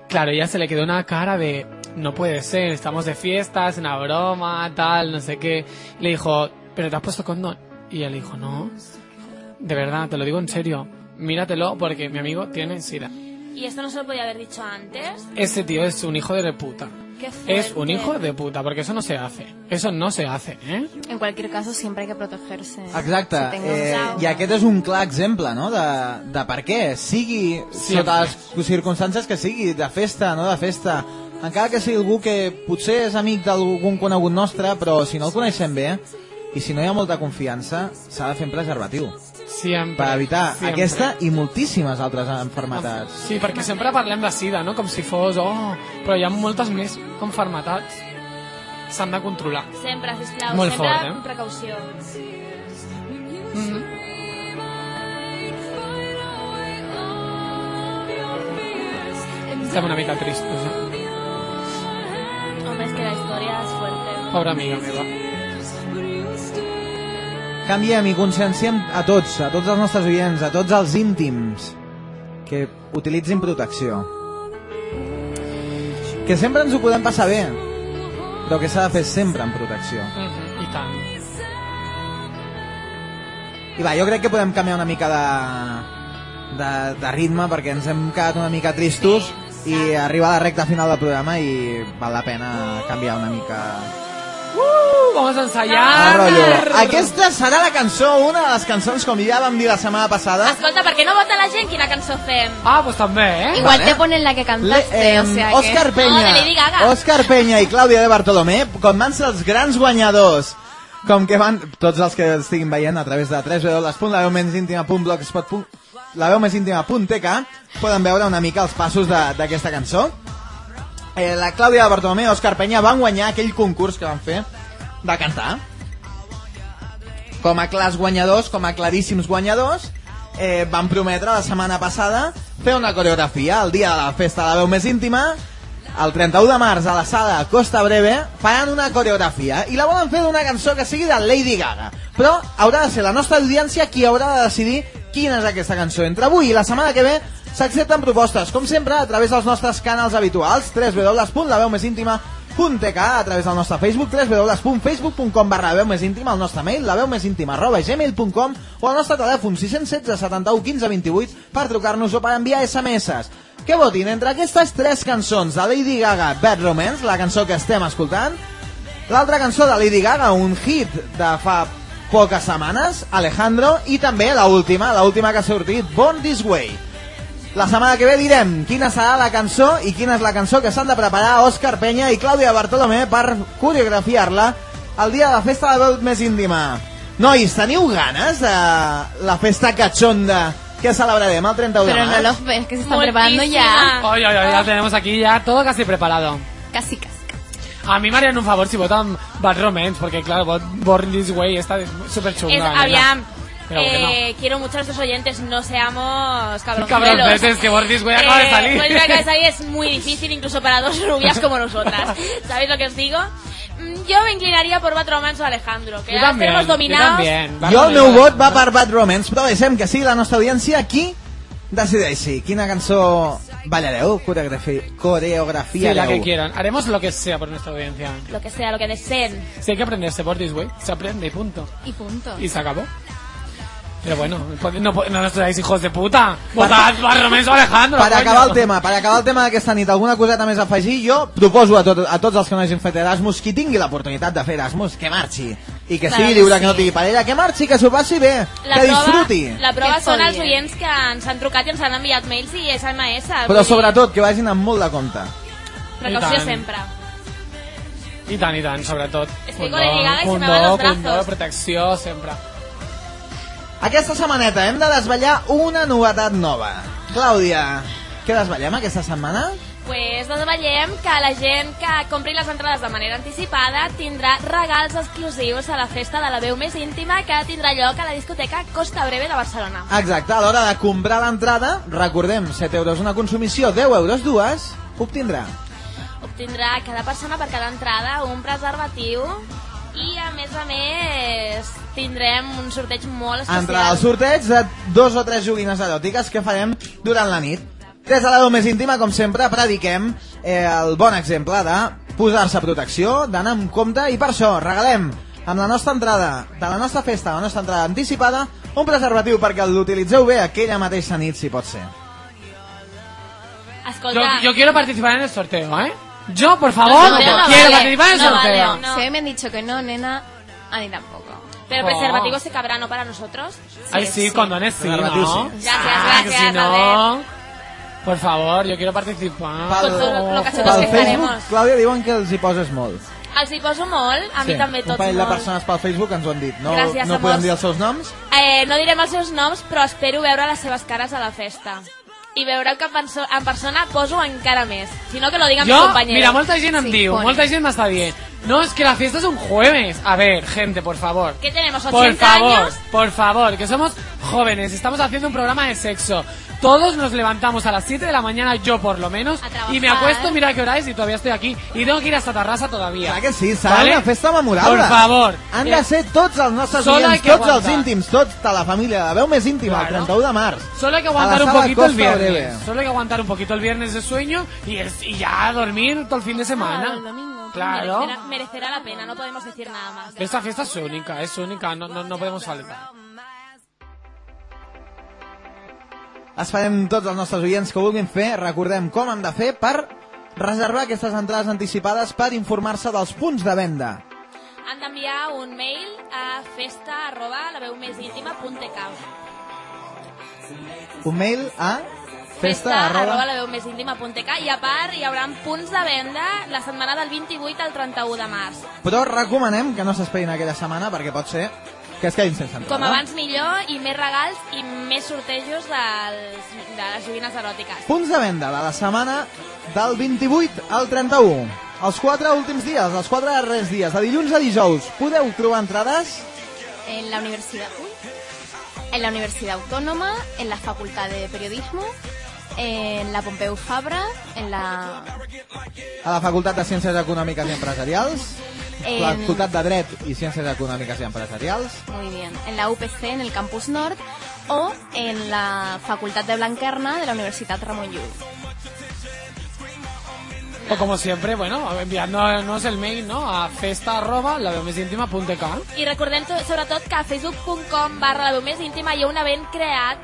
Claro, ya se le quedó una cara de no puede ser, estamos de fiesta, es una broma, tal, no sé qué. Le dijo, ¿pero te has puesto condón? Y ella le dijo, no, de verdad, te lo digo en serio, míratelo porque mi amigo tiene sida. ¿Y esto no se lo podía haber dicho antes? Ese tío es un hijo de reputa. Qué fuerte. Es un hijo de puta, porque eso no se hace. Eso no se hace, ¿eh? En cualquier caso, siempre hay que protegerse. Exacte, Si tengo eh, un i trauma. aquest és un clar exemple no? de, de per què, sigui Sí. sota les circumstàncies que sigui, de festa, no de festa, encara que sigui algú que potser és amic d'algun conegut nostre, però si no el coneixem bé i si no hi ha molta confiança, s'ha de fer un preservatiu Siempre. per evitar siempre. aquesta i moltíssimes altres enfermetats. Sí, perquè sempre parlem de sida, no? Com si fos, oh, però hi ha moltes més enfermetats. S'han de controlar. Sempre, sisplau, Molt sempre fort, eh? amb precaució. Estem una mica tristos, eh? Hombre, es que la historia es fuerte. Pobra amiga meva. Canviem i conscienciem a tots, a tots els nostres oients, a tots els íntims, que utilitzin protecció. Que sempre ens ho podem passar bé, però que s'ha de fer sempre amb protecció. Mhm, I tant. I va, jo crec que podem canviar una mica de, de, de ritme perquè ens hem quedat una mica tristos i arriba a la recta final del programa i val la pena canviar una mica Uh, vamos a el ensayar. Ah, rotllo. Aquesta serà la cançó, una de les cançons, com ja vam dir la setmana passada, Escolta, per què no vota la gent quina cançó fem? Ah, pues també, eh? Igual Vale. te ponen la que cantaste, Le- o em, sea Òscar que... Peña, No, de Lady Gaga. Òscar Peña i Clàudia de Bartolomé, com van ser els grans guanyadors com que van, tots els que estiguin veient a través de 3 la veu més íntima.tk poden veure una mica els passos de- d'aquesta cançó. Eh, la Clàudia de Bartolomé i Òscar Peña van guanyar aquell concurs que van fer de cantar. Com a clars guanyadors, com a claríssims guanyadors, eh, van prometre la setmana passada fer una coreografia el dia de la festa de la veu més íntima, el 31 de març a la sala Costa Breve faran una coreografia i la volen fer d'una cançó que sigui de Lady Gaga però haurà de ser la nostra audiència qui haurà de decidir quina és aquesta cançó entre avui i la setmana que ve s'accepten propostes com sempre a través dels nostres canals habituals www.laveumésíntima.tk a través del nostre Facebook www.facebook.com barra la veu més íntima el nostre mail la veu més íntima arroba gmail.com o el nostre telèfon 616 71 15 28 per trucar-nos o per enviar SMS que votin entre aquestes tres cançons de Lady Gaga, Bad Romance, la cançó que estem escoltant, l'altra cançó de Lady Gaga, un hit de fa poques setmanes, Alejandro, i també la última, la última que ha sortit, Born This Way. La setmana que ve direm quina serà la cançó i quina és la cançó que s'han de preparar Òscar Penya i Clàudia Bartolomé per coreografiar-la el dia de la festa de la veu més íntima. Nois, teniu ganes de la festa catxonda que celebrarem el 31 de Pero març? no los ves, que se están preparando ya. Moltíssima. Oye, oye, ya tenemos aquí ya todo casi preparado. Casi, casi. A mí me harían un favor si votan Bad Romance, porque claro, Bo- Born This Way está súper chunga. Es, ¿verdad? Aviam, Pero bueno. eh, quiero mucho a nuestros oyentes, no seamos cabroncelos. Cabroncetes, que Boris Güey acaba Eh, de salir. Boris Güey acaba de salir, es muy difícil incluso para dos rubias como nosotras. ¿Sabéis lo que os digo? Mm, Yo me inclinaría por Bad Romance o Alejandro, que Yo ya los tenemos dominados. yo también. Va Jo el meu dominado. vot va per Bad Romance, però deixem que sigui la nostra audiència qui decideixi quina cançó ballareu, coreografi Sí, coreografia la que quieran. Haremos lo que sea por nuestra audiencia. Lo que sea, lo que deseen. Si hay que aprenderse Born This Way, se aprende y punto. Y punto. Y se acabó. Pero bueno, pod- no, pod- no nos traéis hijos de puta. Votad Bad Romance o Alejandro. Per coño. acabar el tema, per acabar el tema d'aquesta nit, alguna coseta més a afegir, jo proposo a, tot, a tots els que no hagin fet Erasmus, qui tingui l'oportunitat de fer Erasmus, que marxi. i que Clar sigui que lliure, sí. que no tingui parella, que marxi, que s'ho passi bé, La que prova, disfruti. la prova Que són els folli. oients que ens han trucat i ens han enviat mails i SMS. Però sobretot que vagin amb molt de compte. I Precaució tant. sempre. I tant, i tant, sobretot. Estoy con el lligada y se pues me van los brazos. condó, protecció, sempre. Aquesta setmaneta hem de desvetllar una novetat nova. Clàudia, què desvetllem aquesta setmana? Pues doncs veiem que la gent que compri les entrades de manera anticipada tindrà regals exclusius a la festa de la veu més íntima que tindrà lloc a la discoteca Costa Breve de Barcelona. Exacte, a l'hora de comprar l'entrada, recordem, 7 euros una consumició, 10 euros dues, obtindrà. Obtindrà cada persona per cada entrada un preservatiu i a més a més tindrem un sorteig molt especial. Entre els sorteig de dos o tres joguines eròtiques que farem durant la nit. Des de la veu més íntima, com sempre, prediquem eh, el bon exemple de posar-se protecció, d'anar amb compte, i per això regalem amb la nostra entrada, de la nostra festa, la nostra entrada anticipada, un preservatiu perquè l'utilitzeu bé aquella mateixa nit, si pot ser. Yo, Escolta, yo quiero participar en el sorteo, ¿eh? Yo, No, por favor, no, no vale, quiero participar en el no vale, sorteo. no. Si hoy me han dicho que no, nena, a mí tampoco. pero el preservativo se cabrá, ¿no? Para nosotros. Ay, sí, condones sí, Preservativo, ¿no? sí. Gracias, Ah, que gracias, si no... Por favor, yo quiero participar. Pal- Con todo Ah. lo que Por Pel Nosaltres que favor. Facebook, faremos. Clàudia, diuen que els hi poses molt. Els hi poso molt, a mi també un tots parell de molt. persones pel Facebook ens ho han dit. No, Gràcies, no amors. podem dir els seus noms. Eh, no direm els seus noms, però espero veure les seves cares a la festa. I veureu que en, perso en persona poso encara més. Si no, que lo digan mis Yo, compañeros. mira, molta gent em Sí, diu, pone. molta gent m'està dient, no, es que la fiesta es un jueves. A ver, gente, por favor. ¿Qué tenemos, 80 Por favor, años? por favor, que somos jóvenes, estamos haciendo un programa de sexo. Todos nos levantamos a las 7 de la mañana, yo por lo menos, A trabajar. y me acuesto, mira qué hora es y todavía estoy aquí. Y tengo que ir hasta Tarrasa todavía. Clar Ah, que sí, serà Vale? una festa memorable. Por favor. Eh, Han de ser tots els nostres Solo hay oients, que tots els aguantar. íntims, tota la família, la veu més íntima, el Claro. 31 de març. Solo hay que A aguantar la un sala poquito el Costa viernes. Breve. Solo hay que aguantar un poquito el viernes de sueño y, es- y ya dormir todo el fin de semana. Ah, el domingo. Claro. Merecerá, merecerá la pena, no podemos decir nada más. Esta fiesta es única, es única, no, no, no podemos faltar. Esperem tots els nostres oients que ho vulguin fer. Recordem com han de fer per reservar aquestes entrades anticipades per informar-se dels punts de venda. Han d'enviar un mail a festa arroba la veu més íntima punt tk. Un mail a Festa arroba arroba... la veu més íntima punt tk i a part hi haurà punts de venda la setmana del 28 al 31 de març. Però recomanem que no s'esperin aquella setmana perquè pot ser que es quedin sense entrada. Com abans millor i més regals i més sortejos dels, de les joguines eròtiques. Punts de venda de la setmana del 28 al 31. Els quatre últims dies, els quatre darrers dies, de dilluns a dijous, podeu trobar entrades En la universidad. uy. En la Universidad Autónoma, en la Facultad de Periodismo, en la Pompeu Fabra, en la. a la Facultat de Ciències Econòmiques i Empresarials, En- la Facultat de Dret i Ciències Econòmiques i Empresarials, Muy bien. En la UPC, en el Campus Nord o en la Facultad de Blanquerna de la Universidad Ramón Llull. O como siempre, bueno, enviándonos el mail, ¿no? A festa arroba la I recordem to- sobretot que a facebook.com barra la veu més íntima hi ha un event creat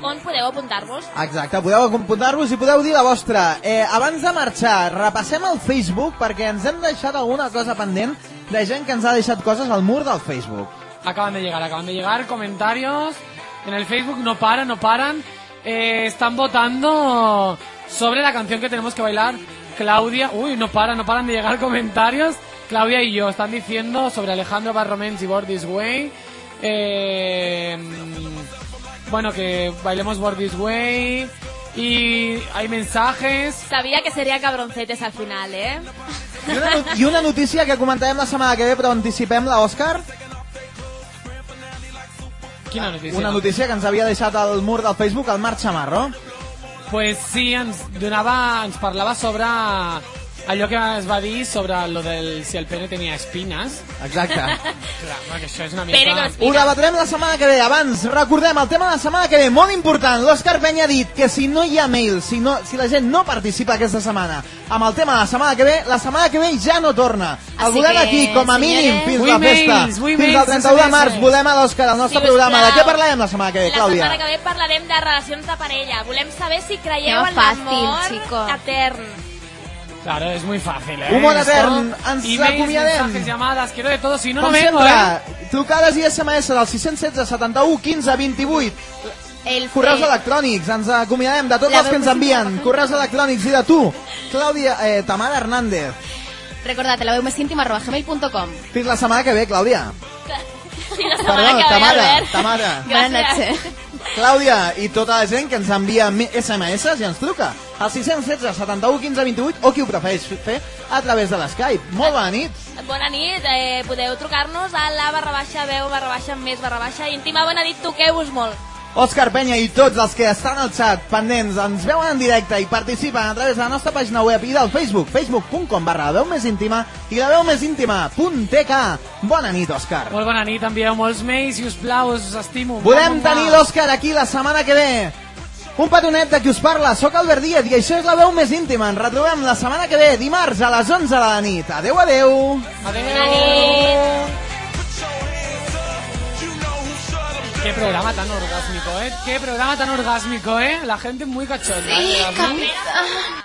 on podeu apuntar-vos. Exacte, podeu apuntar-vos i podeu dir la vostra. Eh, abans de marxar, repassem el Facebook perquè ens hem deixat alguna cosa pendent de gent que ens ha deixat coses al mur del Facebook. Acaban de llegar, acaban de llegar comentarios en el Facebook, no paran, no paran. Eh, están votando sobre la canción que tenemos que bailar. Claudia, uy, no paran, no paran de llegar comentarios. Claudia y yo están diciendo sobre Alejandro Barromens y Born This Way. Eh, bueno, que bailemos Born This Way. Y hay mensajes. Sabia que seria cabroncetes al final, eh? I una, no- i una notícia que comentarem la setmana que ve, però anticipem-la, Òscar. Quina notícia? Una notícia que ens havia deixat al mur del Facebook el Marc Chamarro. Pues sí, ens donava, ens parlava sobre allò que es va dir sobre lo del si el pene tenia espines. Exacte. Clar, home, que això és una Pere mica... con Ho espines. debatrem la setmana que ve. Abans, recordem el tema de la setmana que ve, molt important. L'Òscar Penya ha dit que si no hi ha mail, si, no, si la gent no participa aquesta setmana amb el tema de la setmana que ve, la setmana que ve ja no torna. El Així volem que, aquí, com a senyores, mínim, fins vull la festa. mails, vull fins mails, al 31 de març SMS. volem a l'Òscar al nostre Si us programa. De plau. què parlem la setmana que ve, La Clàudia? setmana que ve parlarem de relacions de parella. Volem saber si creieu Tema en fàcil, l'amor chico. etern. Claro, es muy fácil, ¿eh? Humor Esto, etern, ens emails, acomiadem. mensajes, llamadas, quiero de todo, si no, Com no vengo, sempre, ¿eh? trucades i SMS del 616 71 15 28. El Correus eh, electrònics, ens acomiadem de tots La els que ens veu envien. Correus electrònics i de tu, Clàudia eh, Tamara Hernández. Recordad, la gmail.com Fins la setmana que ve, Clàudia. Sí, la setmana Perdó, que ve, Tamara, Albert. Tamara. Buenas Gràcies. noches. Clàudia i tota la gent que ens envia me- SMS i ens truca al 616 71 15 28 o qui ho prefereix fer a través de l'Skype. Molt bona nit. Bona nit, eh, podeu trucar-nos a la barra baixa, veu barra baixa, més barra baixa, íntima, Benedit, toqueu-vos molt. Òscar Penya i tots els que estan al xat pendents ens veuen en directe i participen a través de la nostra pàgina web i del Facebook, facebook.com barra la veu més íntima i la veu més íntima.tk. Bona nit, Òscar. Molt bona nit, envieu molts mails, si us plau, us estimo. Volem Mua, mua, tenir mua. l'Òscar aquí la setmana que ve. Un petonet de qui us parla, sóc Albert Díaz i això és la veu més íntima. Ens retrobem la setmana que ve, dimarts a les 11 de la nit. Adeu, adeu. Bona nit. Qué programa tan orgásmico, ¿eh? Qué programa tan orgásmico, ¿eh? La gente muy cachonda. ¿eh? Sí, A mí- capitán.